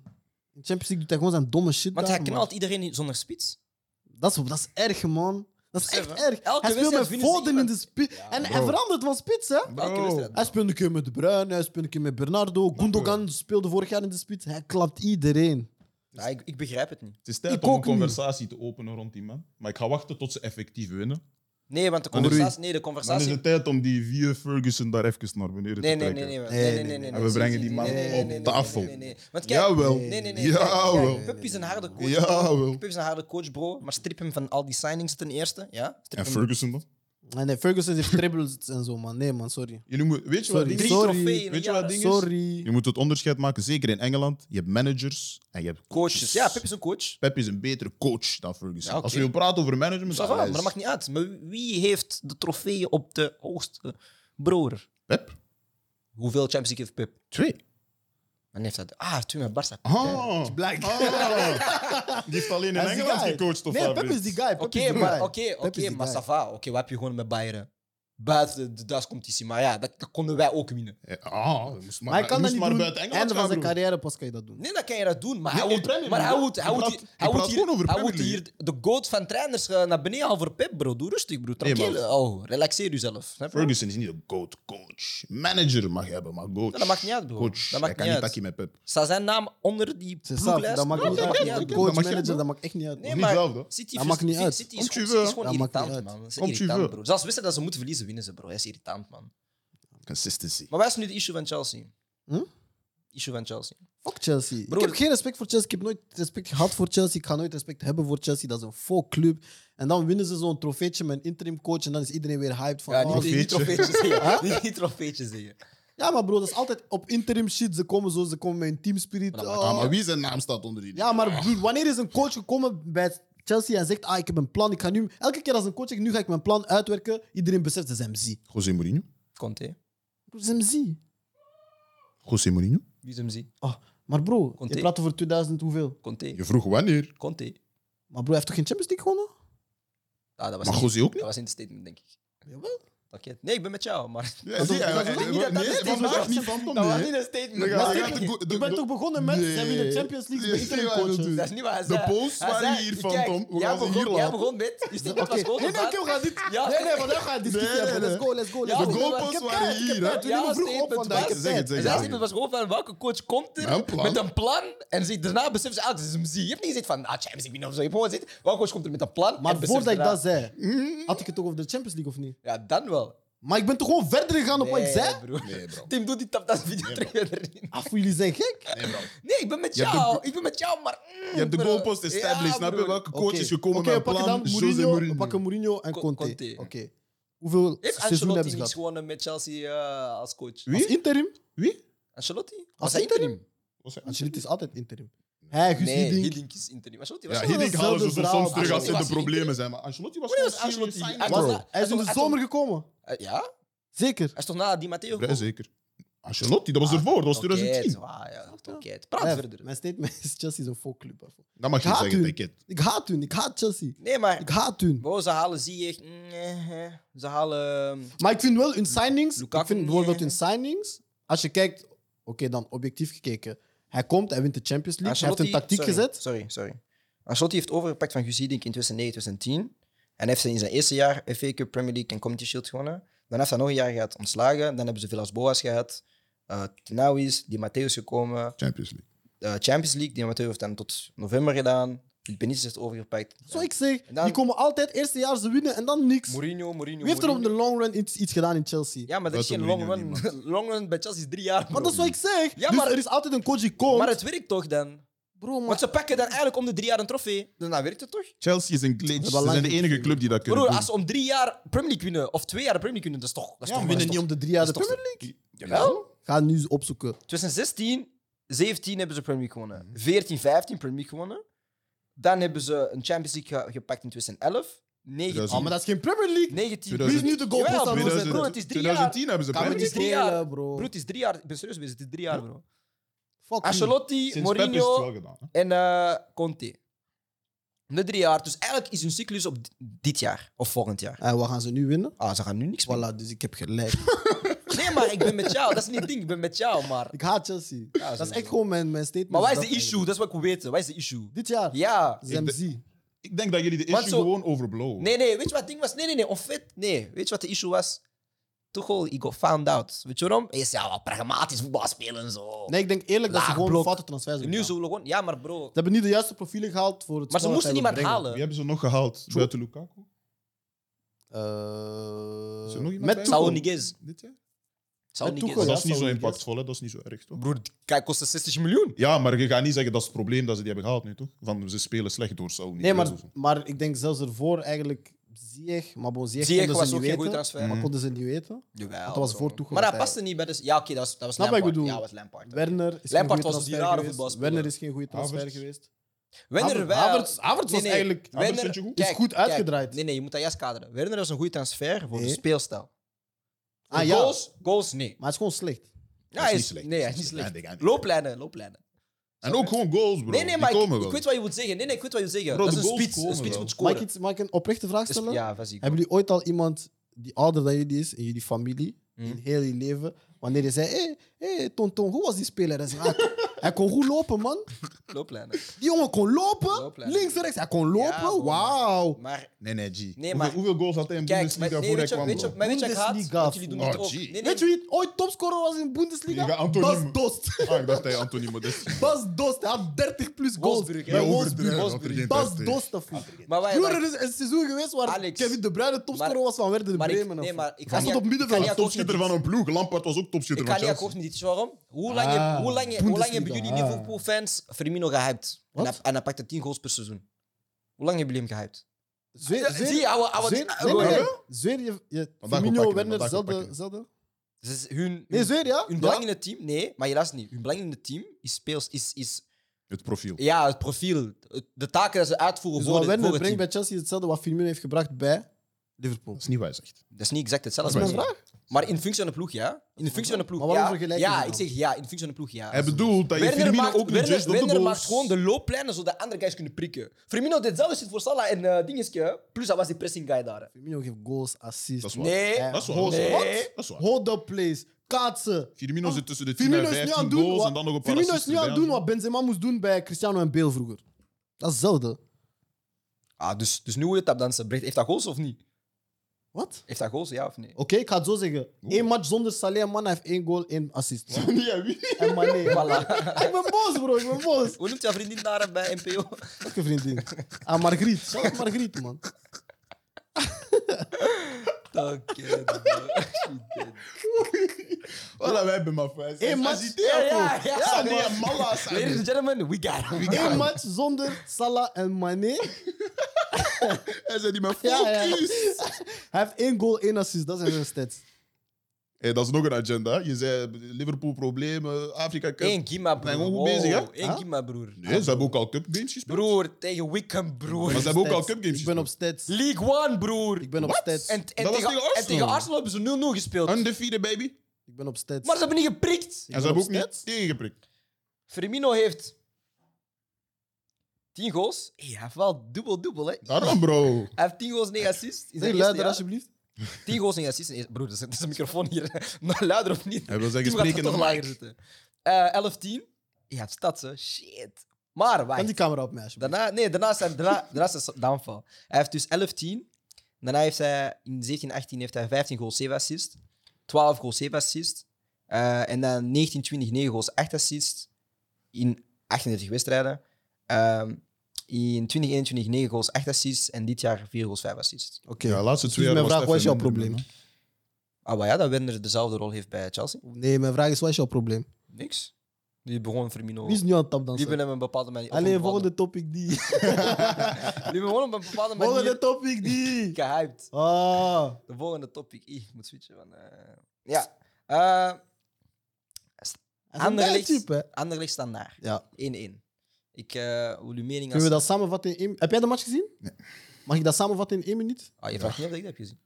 In Champions League doet hij gewoon zijn domme shit Want daar, hij man. knalt iedereen zonder spits. Dat is, dat is erg, man. Dat is Besef, echt hè? erg. Elke hij speelt wedstrijd met winnen ze Foden in iemand. de spits. en hij Bro. verandert van spits, hè. Welke Bro. wedstrijd? Hij speelde een keer met De Bruyne, hij speelde een keer met Bernardo. Gundogan speelde vorig jaar in de spits. Hij klapt iedereen. Ja, ik, ik begrijp het niet. Het is tijd Ik om een ook niet. conversatie te openen rond die man. Maar ik ga wachten tot ze effectief winnen. Nee, want de André. conversatie... Nee, de Dan is conversatie... het tijd om die vier Ferguson daar even naar beneden Nee, te nee, trekken. nee, nee, nee, nee, Nee, nee, nee, nee, nee. nee. En we brengen die man Nee, nee, op nee, nee, tafel. nee, nee, nee. Want kijk, Jawel. Nee, nee, nee. Jawel. Kijk, Pep is een harde coach. Jawel. Pep is een harde coach, bro. Maar strip hem van al die signings ten eerste. Ja? Strip En hem. Ferguson dan? Nee, nee, Ferguson heeft dribbles en zo, man. Nee, man, sorry. Jullie moeten, weet je wat Sorry. ding Drie is? Sorry. trofeeën in een Weet je wat jaar. ding is? Je Sorry. moet het onderscheid maken, zeker in Engeland. Je hebt managers en je hebt Coaches. Ja, Pep is een coach. Pep is een betere coach dan Ferguson. Ja, oké. Als we praten over management, Ça va, dan maar is dat maakt niet uit. Maar wie heeft de trofeeën op de hoogste broer? Pep Hoeveel Champions League heeft Pep? twee. Mijn neef zei, ah, toen met Barca. Ah. Black. Ah. Die heeft alleen in Hij is die Engeland guy. gecoacht of Nee, wat, Pep is Brits? die guy. Pep Oké, is die maar, guy. oké, Pep is oké, die maar guy. ça va. Oké, wat heb je gewoon met Bayern? Buiten de, de Duitse competitie. Maar ja, dat, dat konden wij ook winnen. Ja, Ah, moest maar, Maar hij kan dat moest niet maar doen. buiten Engeland Einde van gaan, zijn broer. carrière pas kan je dat doen. Nee, dan kan je dat doen. Maar Nee, hij in moet, Premier maar hij League, moet, hij ik moet, praat- hier- ik hij moet praat gewoon hier, over hij Premier moet hier de goat van trainers eh, naar beneden halen voor Pep, bro. Doe rustig, bro. Nee, Tranquil. maar- oh, relaxeer jezelf. Snap je? Ferguson is niet een goat coach. Manager mag je hebben, maar coach. Ja, dat maakt niet uit, bro. Coach. Dat hij maakt kan niet niet uit. takkie met Pep. Staat zijn naam onder die Het is zelf, ploeglijst? Ah, dat maakt Ja, niet dat uit. maakt Ja, niet uit. Coach, Dat maakt manager, niet dat maakt echt niet uit. Nee, Niet maar zelf, hè? City, frus- Dat maakt niet City- uit. City is, Komt gewoon, je City is wel. gewoon Dat maakt irritant, niet uit. man. Dat is Komt je irritant, wel. bro. Zelfs wisten dat ze moeten verliezen, winnen ze, bro. Dat is irritant, man. Consistency. Maar wat is nu de issue van Chelsea? Hm? Issue van Chelsea. Fuck Chelsea. Broer. Ik heb geen respect voor Chelsea. Ik heb nooit respect gehad voor Chelsea. Ik ga nooit respect hebben voor Chelsea. Dat is een vol club. En dan winnen ze zo'n trofeetje met een interim coach. En dan is iedereen weer hyped van. Ja, oh, niet, die- die Trofeetje. trofeetjes zeggen. Die- Die trofeetjes zeggen. ja, maar bro, dat is altijd op interim shit. Ze komen zo, ze komen met een teamspirit. Maar dat Oh. Ah, maar wie zijn naam staat onder die? Ja, maar broer, wanneer is een coach gekomen bij Chelsea en zegt: Ah, ik heb een plan. Ik ga nu. Elke keer als een coach zegt: Nu ga ik mijn plan uitwerken. Iedereen beseft: dat is MZ. José Mourinho. Conte. Broer, dat is MZ. José Mourinho. Wie is hem zie? Oh, maar bro, Conte. je praat over 2000 hoeveel? Conte. Je vroeg wanneer. Conte. Maar bro, hij heeft toch geen Champions League gewonnen? Ah, dat was Maar niet- José ook niet? Dat was in de statement, denk ik. Jawel. Pakket. Nee, ik ben met jou, maar... Ja, zie je, hij- dat hij- was hij- niet dat- dat nee, is het was deze echt maand. niet van Tom. Dat was nee. niet een Dan statement. ga- Dat dan is gaat niet- de go- de- Je bent de- toch begonnen met. Ze hebben in de Champions League Nee, met interim nee, nee, coaches. nee. Dat is niet waar hij De zei. posts Hij waren zei- hier van kijk, Tom. We jij gaan ze begon- hier Jij laten. begon met... Je statement Oké. was gewoon Nee, nee, gebaat. oké, we gaan dit. Ja. Nee, nee, vandaag gaan we discussiëren. Nee, nee, nee. Let's go, let's go. Let's Ja, go. De we Ik heb goalposts tijd, waren ik heb hier, tijd. hè. We nemen Ja, vroeg op statement vandaag. was- Zeg het, zeg het, zeg Zijn Ik heb tijd. het. statement was gewoon van welke coach komt er Met een plan. met een plan en ze, daarna beseft ze, ah, dit is hem zie. Je hebt niet gezegd van, ah, Champions, ik ben of zo. Je hebt gewoon gezegd, welke coach komt er met een plan en Maar beseft voordat ik daarna- dat zei, had ik het toch over de Champions League of niet? Ja, dan wel. Maar ik ben toch gewoon verder gegaan op wat ik zei? broer. Nee, bro. Tim, doe die tapdas-video terug erin. Af, jullie zijn gek. Nee, bro. Nee, ik ben met Je hebt jou. Ik ben met jou, maar... mm, Je hebt de bro. goalpost established. Ja, snap je broer. welke coach Oké. is gekomen Oké, met we een pakken plan? dan José Mourinho, we Mourinho. pakken Mourinho en Co- Conte. Conte. Oké. Hoeveel Heeft seizoenen hebben Ancelotti niks ze gehad? gewonnen met Chelsea eh, als coach? Als interim? Wie? Ancelotti? Was Als hij interim? Was hij- Ancelotti is altijd interim. Hij, Guus Nee, Hiddink. Hiddink is interim. Ancelotti was Ja, was hier denk ik halen ze hetzelfde zo soms verhaal. terug als er de Ancelotti was problemen zijn. Maar Ancelotti was Wanneer was gewoon serious Ancelotti? signing, Hij bro. was- Hij is in de Hij- zomer gekomen. Eh, Ja? Zeker. Hij is toch na Di Matteo Ja, gekomen? zeker. Ancelotti, dat was ervoor, dat was Oké, 2010. zwaar, ja, oké. Praat Ja, verder. Mijn statement is Chelsea is een volkclub. daarvoor. Dat mag je Haat niet zeggen, u. denk ik. Ik haat hun. Ik haat Chelsea. Nee, maar Ik haat hun. bro, ze halen Ziyech. nee, hè. ze halen... ehm, Maar ik vind wel hun signings. Lukaku ik vind niet, bijvoorbeeld hè? hun signings. Als je kijkt, oké, dan objectief gekeken. Hij komt, hij wint de Champions League. hij heeft een tactiek sorry, gezet. Sorry, sorry. Ancelotti heeft overgepakt van Guus Hiddink in 2009, 2010. En heeft ze in zijn eerste jaar FA Cup, Premier League en Community Shield gewonnen. Dan heeft hij nog een jaar gehad ontslagen. Dan hebben ze Villas Boas gehad. eh Tenauis, Di Matteo is gekomen. Champions League. eh, Champions League, Di Matteo heeft hem tot november gedaan. Benitez heeft overgepakt. Zo ik zeg, En dan- die komen altijd eerste jaar ze winnen en dan niks. Mourinho, Mourinho, Wie heeft er op de Mourinho. long run iets, iets gedaan in Chelsea? Ja, maar dat is Dat geen is long Mourinho run. long run bij Chelsea is drie jaar. Maar bro. dat is wat ik zeg. Ja, dus maar- er is altijd een coach die komt. Maar het werkt toch dan? Bro, maar- Want ze pakken dan eigenlijk om de drie jaar een trofee. Dus Dan werkt het toch? Chelsea is een glitch. hebben Ze al zijn lang de enige club die dat kunnen Broer, doen. als ze om drie jaar Premier League winnen, of twee jaar de Premier League winnen, dat is toch... Dat is ja, toch we winnen dat niet is om de drie jaar de dat is toch- Premier League. Jawel. Ga nu opzoeken. 2016, 17 hebben ze Premier League gewonnen. Mhm. 14, 15 Premier League gewonnen. Dan hebben ze een Champions League ge- gepakt in 2011. 19, Oh, maar Ah, dat is geen Premier League. 19. Wie is nu de goalpost Jawel, aan broer, het broer, zetten? het is drie jaar. 2010 hebben ze Kan Premier we niet League. drie jaar. spelen, bro. Broer, het is drie jaar. Ik ben serieus bezig. Het is drie jaar, bro. Fuck you. Ancelotti, Sinds Pep is het wel Mourinho gedaan. hè. en eh, Conte. De drie jaar. Dus eigenlijk is hun cyclus op di- dit jaar. Of volgend jaar. En Eh, wat gaan ze nu winnen? Ah, ze gaan nu niks meer. Voilà, dus ik heb gelijk. Nee, maar ik ben met jou. Dat is niet het ding. Ik ben met jou, maar... ik haat Chelsea. dat is sowieso. echt gewoon mijn, mijn statement. Maar wat is Dat de issue? Dat is wat ik wil weten. Wat is de issue? Dit jaar? Ja. Ze Ik MZ. Ik denk dat jullie de Want issue zo- gewoon overblowen. Nee, nee, weet je wat het ding was? Nee, nee, nee, onfit. Nee, weet je wat de issue was? Tuchel, he got found out. Weet je waarom? Hij is ja, wel pragmatisch voetbal spelen en zo. Nee, ik denk eerlijk dat ze Laag gewoon blok. foute transfers hebben. nu gedaan. zullen we gewoon... Ja, maar bro. Ze hebben niet de juiste profielen gehaald voor het Maar ze spel dat moesten hij niemand wil brengen. Wie halen. hebben ze nog gehaald? Zo. Buiten Lukaku? Eh, Is er nog iemand bij? met Saul Tuchel. Niguez. Dit jaar? Saul Met Niguez. Tuchel, Dat is ja. niet zo zou ik impactvol, hè. dat is niet zo erg, toch? Broer, kijk, kostte 60 miljoen. Ja, maar je gaat niet zeggen dat is het probleem dat ze die hebben gehaald nu, toch? Van ze spelen slecht door Saul. Nee, maar, maar ik denk zelfs ervoor eigenlijk Ziyech. Maar bon, Ziyech, Ziyech konden ze was ook niet geen goede weten. transfer. Mm. Maar konden ze niet weten. Jawel. Dat was bro. voor Tuchel Maar dat eigenlijk. paste niet bij de... Ja, oké, dat was, dat was Snap wat Lampard. ik bedoel? Ja, dat was Lampard. Werner is Lampard geen goede was die transfer rare geweest. voetbalspeler. Werner is geen goede transfer Havertz. geweest. Werner Haver- wel. Havertz- Havertz was eigenlijk- Werner- Havertz vind je goed? Is goed kijk, uitgedraaid. Nee, nee, je moet dat juist kaderen. Werner was een goede transfer voor Nee. de speelstijl. Ah Voor ja, Goals, goals, nee. maar het is gewoon slecht. Dat hij is is- niet slecht. nee, hij Dat is niet Ja, slecht. die gaan niet. Looplijnen, looplijnen. En ook gewoon goals, bro. nee, nee, Die maar ik, komen ik wel. weet wat je moet zeggen. Nee, nee, ik weet wat je moet zeggen. Bro, dat de is een goals spits. Een komen spits wel. moet Mag ik, scoren. iets, mag ik een oprechte vraag Dus- stellen? ja, vas Hebben jullie ooit al iemand die ouder dan jullie is in jullie familie, Mhm. in heel je leven, wanneer je zei: hé, hey, hey, Tonton, hoe was die speler? Hij, zei, "Ah, hij kon goed lopen, man. Looplijnen. Die jongen kon lopen, Looplijnen. links en rechts. Hij kon Ja, lopen, bro, wauw. Maar Nee, nee, G. hoeveel, maar- hoeveel goals had hij in kijk, maar, Bundesliga voor nee, hij weet, je, kwam, weet, je, bro? maar weet je wat ik haat? Bundesliga. Want jullie doen het Oh, ook. gee. Nee, nee, Weet je wie het ooit topscorer was in de Bundesliga? Je gaat Anthony Bas Mo- Dost. Ah, ik dacht hij Anthony Modest. Bas Dost, hij had 30 plus goals. Wolfsburg, hè? Bij Ja, Wolfsburg. overdreven, Wolfsburg. overdreven. Bas Dost, dat voelt. Maar wij- Vroeger is een seizoen geweest waar Alex. Kevin De Bruyne topscorer Maar- was van Werder de maar ik- Bremen. nee, of- maar ik ga hij niet- stond ik op ga middenveld. niet akkoord Topschutter van een ploeg. Lampard was ook topschutter Ik van kan niet Chelsea. akkoord met dit, waarom? Hoe lang, Ah, heb- hoe lang, hoe lang hebben Bundesliga, jullie ah. Liverpool-fans Firmino gehyped? En Wat? hij, en hij pakte 10 goals per seizoen. Hoe lang hebben jullie hem gehyped? Zwe- Zwe- Ah, Zie je, ouwe- ouwe- Zweer, eh, nee, goeie. nee, nee. Zweer je, je Vandaag Firmino, oppakken, Werner, vandaag zelden, oppakken. zelden. Dus is hun, Nee, hun, zweer, ja? hun belang in het team, nee, maar helaas niet. Hun belang in het team is, speels, is, is Het profiel. ja, het profiel, het- de taken dat ze uitvoeren Dus voor, wat de- Werner voor het team. brengt bij Chelsea is hetzelfde wat Firmino heeft gebracht bij Liverpool. Dat is niet waar hij zegt. Dat is niet exact hetzelfde. Dat is maar- mijn Maar in functie van de ploeg, ja. In de functie van de ploeg, Maar waarom ja. vergelijk je Ja, dat ik dan? zeg ja, in functie van de ploeg, ja. Hij bedoelt dat je Werner Firmino maakt, ook niet Werner, judge op de Werner goals. maakt gewoon de looplijnen zodat andere guys kunnen prikken. Firmino deed zelfs het voor Salah en eh, dingetje. Plus hij was die pressing guy daar. Firmino geeft goals, Dat assists. is waar. Nee. Dat is waar. Goals, Nee. wat? Dat is waar. Hold up plays, kaatsen. Firmino zit tussen de 10 Firmino en is nu aan 15 het doen goals en dan nog een wat- paar Firmino is assists nu aan het doen erbij. wat Benzema moest doen bij Cristiano en Bale vroeger. Dat is hetzelfde. Ah, dus, dus nu hoe het tapdansen. Brecht, heeft dat goals of niet? Wat? Heeft dat goals, ja of nee? Oké, ik ga het zo zeggen. Eén match zonder Salah, man, hij heeft één goal, één assist. Ja, wie? En Mané. Voilà. Ik ben boos, bro. Ik ben boos. Hoe noemt jouw vriendin daar bij NPO? Welke vriendin? Ah, Margriet. Shout out Margriet, man. Dank je. Voilà, wij hebben maar vijf. Eén match. Ja, ja, ja. Sané en man. Malla. Sané. Ladies and gentlemen, we got him. Eén match zonder Salah en Mané. Hij zei die maar Ja, ja. focus. Hij heeft één goal, één assist. Dat zijn zijn stats. Hey, dat is nog een agenda. Je zei Liverpool problemen, Afrika Cup. Eén Kima, broer. zijn gewoon goed bezig, hè? Eén Huh? Kima, broer. Nee, ze hebben ook al cup games gespeeld. Broer, tegen Wickham, broer. Maar ze hebben ook al Stats. cupgames Ik ben op gespeeld. stats. League One, broer. Ik ben op Wat? stats. En, en, Dat was tegen, tegen Arsenal. en tegen Arsenal hebben ze 0-0 gespeeld. Undefeated, baby. Ik ben op stats. maar ze hebben niet geprikt. Ik En ze ben op hebben ook niet stats. tegengeprikt. Firmino heeft 10 goals. Hey, hij heeft wel dubbel-dubbel, hè? Daarom, bro. Hij heeft 10 goals, 9 assists. In Zeg zijn luider, eerste jaar. alsjeblieft. 10 goals, 9 assists. in eerste- Broer, dat is, dat is een microfoon hier. Maar luider of niet? Hij wil zeggen, Team gaat spreken toch normaal. lager zitten. Eh, 11-10. Ja, stad, hè. Shit. Maar, Kan wacht. die camera op mij, alsjeblieft. Daarna, nee, daarna zijn, daarna, daarna is het downfall. Hij heeft dus 11-10. Daarna heeft hij in 17-18 heeft hij 15 goals, 7 assists. 12 goals, 7 assists. Eh, en dan 19-20, 9 goals, 8 assists. In 38 wedstrijden. Ehm, in 2021, 9 goals, 8 assists. En dit jaar 4 goals, 5 assists. Oké. Ja, laatste twee Dus jaar mijn was vraag, het wat is jouw even minder, probleem? man. Ah, maar ja, dat Werner dezelfde rol heeft bij Chelsea. Nee, mijn vraag is, wat is jouw probleem? Niks. Die begon Firmino. Wie is nu aan het Die tapdansen? hebben hem op een bepaalde manier. op een Alleen, bepaalde- volgende topic die. Die hebben gewoon op een bepaalde Volgende manier topic die. gehyped. Ah. De volgende topic. Ih, Ik moet switchen. Van, eh, ja. Eh Hij is een Anderlecht. bad type, hè. Anderlecht staat daar. Ja. 1-1. Ik eh wil uw mening als... Kunnen we dat samenvatten in één... Heb jij de match gezien? Nee. Mag ik dat samenvatten in één minuut? Ah, je vraagt niet of ik dat heb gezien.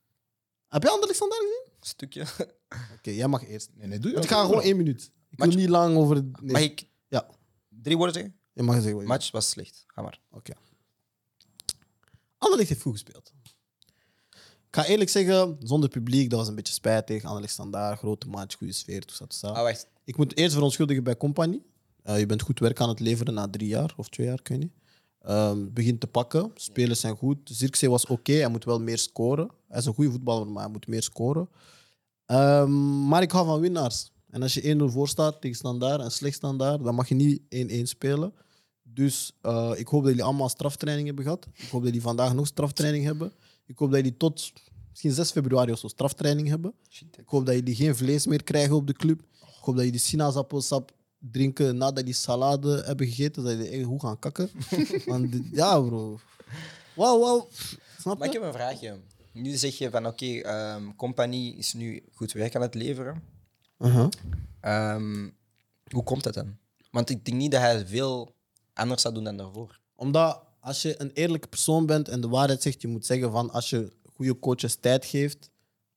Heb jij Anderlecht standaard gezien? Stukje. Oké, jij mag eerst. Nee, nee, doe je Want ik dat ga gewoon wel. één minuut. Ik wil Match- niet lang over... Nee. Mag ik Ja. drie woorden zeggen? Je mag zeggen wat je Match was slecht. Ga maar. wil. Oké. Anderlecht heeft goed gespeeld. Ik ga eerlijk zeggen, zonder publiek, dat was een beetje spijtig. Anderlecht standaard, grote match, goede sfeer, toesa, toesa. Ah, wacht. Ik moet eerst verontschuldigen bij Company. Eh, je bent goed werk aan het leveren na drie jaar of twee jaar, ik weet niet. Ehm, begint te pakken, spelers zijn goed. Zirkzee was oké, hij moet wel meer scoren. Hij is een goede voetballer, maar hij moet meer scoren. Ehm, maar ik hou van winnaars. En als je 1-0 voor staat tegen standaard en slecht standaard, dan mag je niet 1-1 spelen. Dus eh, ik hoop dat jullie allemaal straftraining hebben gehad. Ik hoop dat jullie vandaag nog straftraining hebben. Ik hoop dat jullie tot misschien 6 februari of zo straftraining hebben. Shit. Ik hoop dat jullie geen vlees meer krijgen op de club. Ik hoop dat jullie sinaasappelsap drinken nadat jullie salade hebben gegeten. Dat jullie echt goed gaan kakken. Want dit- ja, bro. Wauw, wauw. Snap Maar ik je? heb een vraagje. Nu zeg je van, oké, ehm, compagnie is nu goed werk aan het leveren. Uh-huh. Ehm, hoe komt dat dan? Want ik denk niet dat hij veel anders zou doen dan daarvoor. Omdat als je een eerlijke persoon bent en de waarheid zegt, je moet zeggen van als je goede coaches tijd geeft,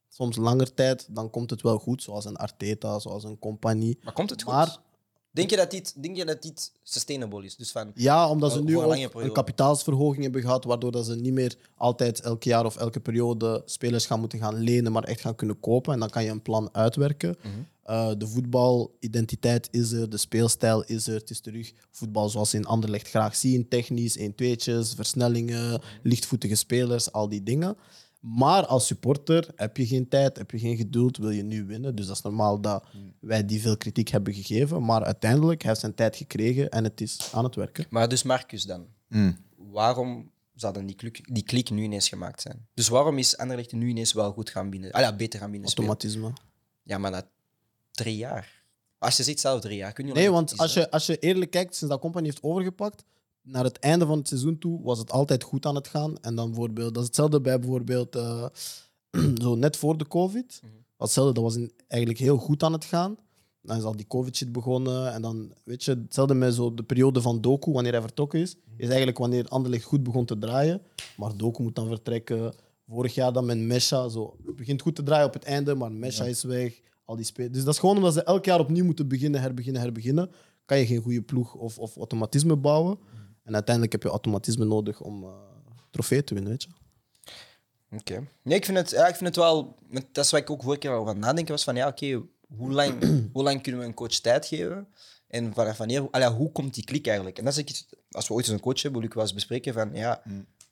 soms langer tijd, dan komt het wel goed. Zoals een Arteta, zoals een compagnie. Maar komt het goed? Maar Denk je dat dit, denk je dat dit sustainable is? Dus van, ja, omdat ze Voor- nu voor een ook lange periode. een kapitaalsverhoging hebben gehad, waardoor dat ze niet meer altijd elk jaar of elke periode spelers gaan moeten gaan lenen, maar echt gaan kunnen kopen. En dan kan je een plan uitwerken. Mhm. Eh, de voetbalidentiteit is er, de speelstijl is er. Het is terug voetbal zoals ze in Anderlecht graag zien. Technisch, 1-2'tjes, versnellingen, lichtvoetige spelers, al die dingen. Maar als supporter heb je geen tijd, heb je geen geduld, wil je nu winnen. Dus dat is normaal dat Mm. wij die veel kritiek hebben gegeven. Maar uiteindelijk hij heeft zijn tijd gekregen en het is aan het werken. maar dus Marcus dan. Hmm. Waarom zou dan die klik, die klik nu ineens gemaakt zijn? Dus waarom is Anderlecht nu ineens wel goed gaan binnen? Ah ja, beter gaan binnen spelen? Automatisme. Ja, maar na drie jaar. Als je ziet zelf drie jaar, kun je Nee, want als je, als je eerlijk kijkt, sinds dat Company heeft overgepakt, naar het einde van het seizoen toe was het altijd goed aan het gaan. En dan bijvoorbeeld, dat is hetzelfde bij bijvoorbeeld eh, zo net voor de COVID. Mhm. Hetzelfde, dat was in- eigenlijk heel goed aan het gaan. Dan is al die COVID-shit begonnen. En dan, weet je, hetzelfde met zo de periode van Doku, wanneer hij vertrokken is. Is eigenlijk wanneer Anderlecht goed begon te draaien. Maar Doku moet dan vertrekken. Vorig jaar dan met Mesha. Zo. Het begint goed te draaien op het einde, maar Mesha is weg. Al die spe- dus dat is gewoon omdat ze elk jaar opnieuw moeten beginnen, herbeginnen, herbeginnen. Kan je geen goede ploeg of, of automatisme bouwen. En uiteindelijk heb je automatisme nodig om eh trofee te winnen, weet je. Oké. Nee, ik vind, het, ja, ik vind het wel... want Dat is wat ik ook vorige keer over aan het nadenken was. Van ja, oké, hoe, lang, hoe lang kunnen we een coach tijd geven? En vanaf wanneer... Allee, hoe komt die klik eigenlijk? En dat is ook iets... Als we ooit eens een coach hebben, wil ik wel eens bespreken van ja...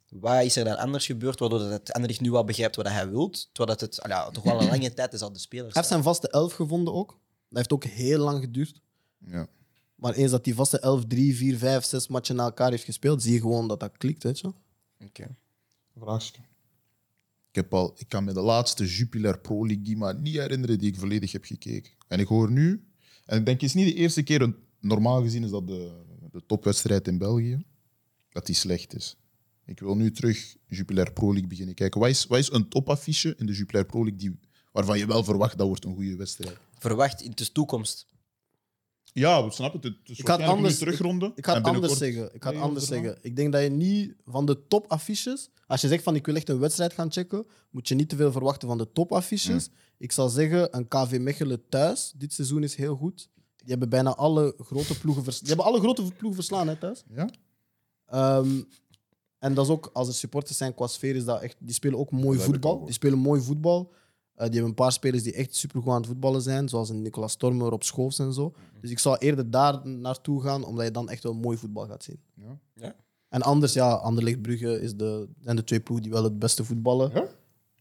Wat is er dan anders gebeurd, waardoor dat het Anderlecht nu wel begrijpt wat hij wil? Terwijl dat het allee, toch wel een lange tijd is al de spelers. Hij heeft zijn vaste elf gevonden ook. Dat heeft ook heel lang geduurd. Ja. Maar eens dat die vaste elf drie, vier, vijf, zes matchen na elkaar heeft gespeeld, zie je gewoon dat dat klikt, weet je. Oké. Vraagje. Ik, heb al, ik kan me de laatste Jupiler Pro League Gima niet herinneren die ik volledig heb gekeken. En ik hoor nu, en ik denk, het is niet de eerste keer, een- normaal gezien is dat de, de topwedstrijd in België, dat die slecht is. Ik wil nu terug Jupiler Pro League beginnen kijken. Wat is, wat is een topaffiche in de Jupiler Pro League die, waarvan je wel verwacht dat wordt een goede wedstrijd? Verwacht in de toekomst. Ja, we snappen het. het is Ik had waarschijnlijk anders- nu terugronden. Ik ga het En anders binnenkort- zeggen. Ik ga het Nee, anders Rotterdam. zeggen. Ik denk dat je niet van de topaffiches, als je zegt van ik wil echt een wedstrijd gaan checken, moet je niet te veel verwachten van de topaffiches. Mm. Ik zal zeggen, een KV Mechelen thuis, dit seizoen is heel goed. Die hebben bijna alle grote ploegen, vers- die hebben alle grote ploegen verslaan hè, thuis. Ja? Ehm, en dat is ook, als er supporters zijn qua sfeer, is dat echt, die spelen ook mooi heb ik al voetbal. gehoord. Die spelen mooi voetbal. Eh, die hebben een paar spelers die echt supergoed aan het voetballen zijn, zoals een Nicolas Stormer op Schoofs en zo. Mhm. Dus ik zou eerder daar naartoe gaan, omdat je dan echt wel mooi voetbal gaat zien. Ja. Ja. En anders, ja, Anderlecht Brugge is de, zijn de twee ploegen die wel het beste voetballen Ja?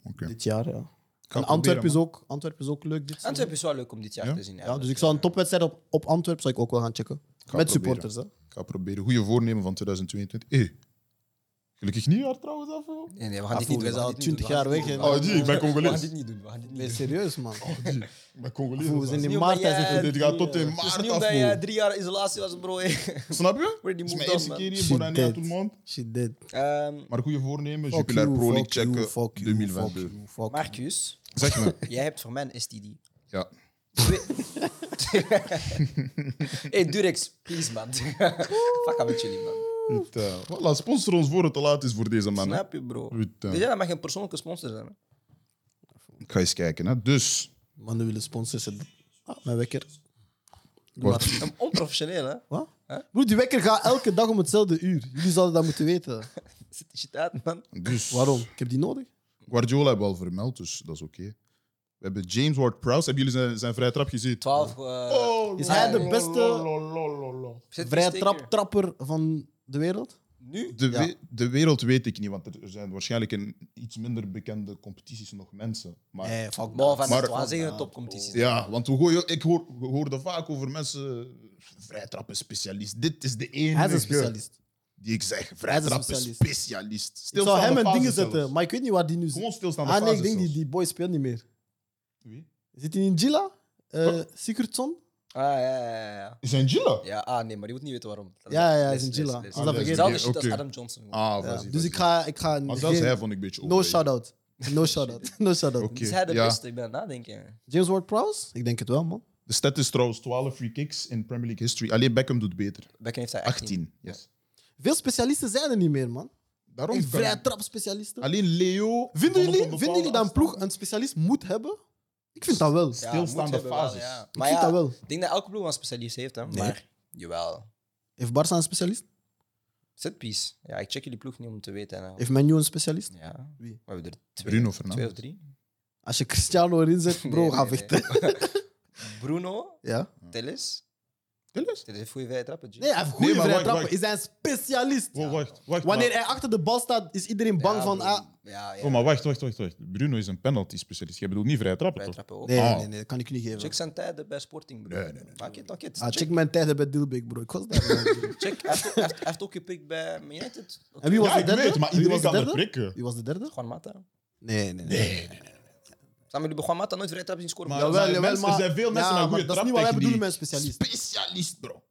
Oké. dit jaar. Ja. En proberen, Antwerpen is, man. ook, Antwerpen is ook leuk dit seizoen. Antwerpen is wel leuk om dit jaar Ja? te zien. Ja, dus eigenlijk. ik zou een topwedstrijd op, op Antwerpen zou ik ook wel gaan checken. ga Met proberen. supporters, hè. Ik ga proberen. Goede voornemen van 2022. Eh. Gelukkig nieuwjaar trouwens af. hoor. Nee, nee, we gaan dit niet Ah, doen. voel, we gaan we dit zijn niet al doen, we gaan 20 jaar dit weg, niet hè. doen. Oh, die, ik ben We gaan Congolees. dit niet doen. We gaan dit niet Nee, doen. serieus, man. Oh, die. Ik ben Congolees. Voel, we zijn man. in niet maart omdat thuis. jij- hè. Dit gaat tot in Het is maart niet af. omdat je hoor. drie jaar isolatie was, bro. hè. Snap je? Het Where die is move mijn dan, eerste man? keer Shit hier. Bon année à dead. tout le monde. She did. Ehm, Maar goede voornemen. Fuck Jupiler you, Pro League fuck you, checken. fuck you, fuck 2022. you, fuck you. Marcus, Zeg me. jij hebt voor mij een STD. Ja. hey, Durex, please, man. Fuck aan met jullie, man. Putain. Eh, Voilà, sponsor ons voor het te laat is voor deze man. hè. Snap je, bro? Putain. Weet je, dat mag een persoonlijke sponsor zijn. hè? Ik ga eens kijken. Hè. Dus. Manuele sponsors. het- Ah, mijn wekker. Doe Wat? maar. Een Onprofessioneel, hè? Wat? Huh? Broer, die wekker gaat elke dag om hetzelfde uur. Jullie zouden dat moeten weten. Zit die shit uit, man. dus. Waarom? Ik heb die nodig. Guardiola hebben we al vermeld, dus dat is oké. We hebben James Ward-Prowse. Hebben jullie zijn, zijn vrije trap gezien? 12. eh Oh, Is hij de beste lololololol. zet die vrije steker. trap, trapper van de wereld? Nu? De, Ja. we- de wereld weet ik niet, want er zijn waarschijnlijk in iets minder bekende competities nog mensen. Maar, Nee, fuck Bo, van Maar- Ah, de Twa zeggen Ja. topcompetities. Ja, want we gooien, ik hoor, we hoorden vaak over mensen, vrijtrappen specialist. Dit is de enige Hij is een specialist. die ik zeg, is een vrijtrappen specialist. specialist. Ik zou Stilstaande hem een fase dingen zelfs. zetten, maar ik weet niet waar die nu zit. Gewoon stilstaande Ah nee, ik fase denk die, zelfs. die boy speelt niet meer. Wie? Zit hij in Gila? Eh Sigurdsson? Ah, ja, ja, ja, ja. Is hij een Gila? Ja, ah, nee, maar die moet niet weten waarom. Dat Ja, ja, hij les, is een les, Gila. les. Als dat Ah, les. vergeet. Oké, Zelfde shit als oké. Adam Johnson. gewoon. Ah, Ja, vas-y, Dus vas-y. ik ga... Ik ga Maar zelfs geen- hij vond ik een beetje No overrated. shout-out. Dus No shout-out. No shout-out. Oké. Is hij de ja. beste? Ik ben aan het nadenken. James Ward-Prowse? Ik denk het wel, man. De stat is trouwens 12 free kicks in Premier League history. Alleen Beckham doet beter. Bekken heeft hij 18. 18. Yes. Veel specialisten zijn er niet meer, man. Daarom Een kan- vrije trapspecialisten. Alleen Leo. Vinden van op een jullie, bepaalde vinden jullie dat een ploeg afstand- een specialist moet hebben? Ik vind dat wel. Ja. stilstaande moet hebben wel, fases. ja. Ik Maar vind ja, dat wel. ik denk dat elke ploeg wel een specialist heeft, hè. Nee. Maar, jawel. Heeft Barça een specialist? Setpiece. Ja, ik check jullie ploeg niet om te weten. hè. Heeft Menu een specialist? Ja. Wie? We hebben er twee. Bruno Twee Fernandes. of drie? Als je Cristiano erin zet, bro, Nee, ga nee, vechten. nee. Bruno, Ja? Tellis. Tellis? Tellis heeft goede vrije trappen, G. Nee, hij heeft goede maar wacht, vrije trappen. wacht. Is hij een specialist? Wow, Oh, wacht, wacht. Wanneer maar, hij achter de bal staat, is iedereen bang Ja, van... Bruno. Ah, Ja, ja. oh, maar wacht, wacht, wacht, wacht. Bruno is een penalty-specialist. Je bedoelt niet vrij trappen, Vrije toch? trappen ook. nee, nee, Ah. nee, nee, dat kan ik niet geven. Oh. Check zijn tijden bij Sporting, bro. Nee, nee, nee. Maak het, maak het. ah, Check, check mijn tijden bij Dilbeek, bro. Ik was daar. check. Hij heeft ook- hij heeft- hij heeft ook gepikt bij Man United. en wie was Ja, de ik derde? weet, maar wie was iedereen de kan dat derde? prikken. Wie was de derde? Juan Mata. Nee, nee, nee. Zijn jullie bij Juan Mata nooit vrije trappen zien scoren? Maar- bro? Jawel, er zijn jawel, mensen- maar- er zijn veel mensen ja, met maar goede Dat is niet wat wij traptechniek. bedoelen met specialist. Specialist, bro.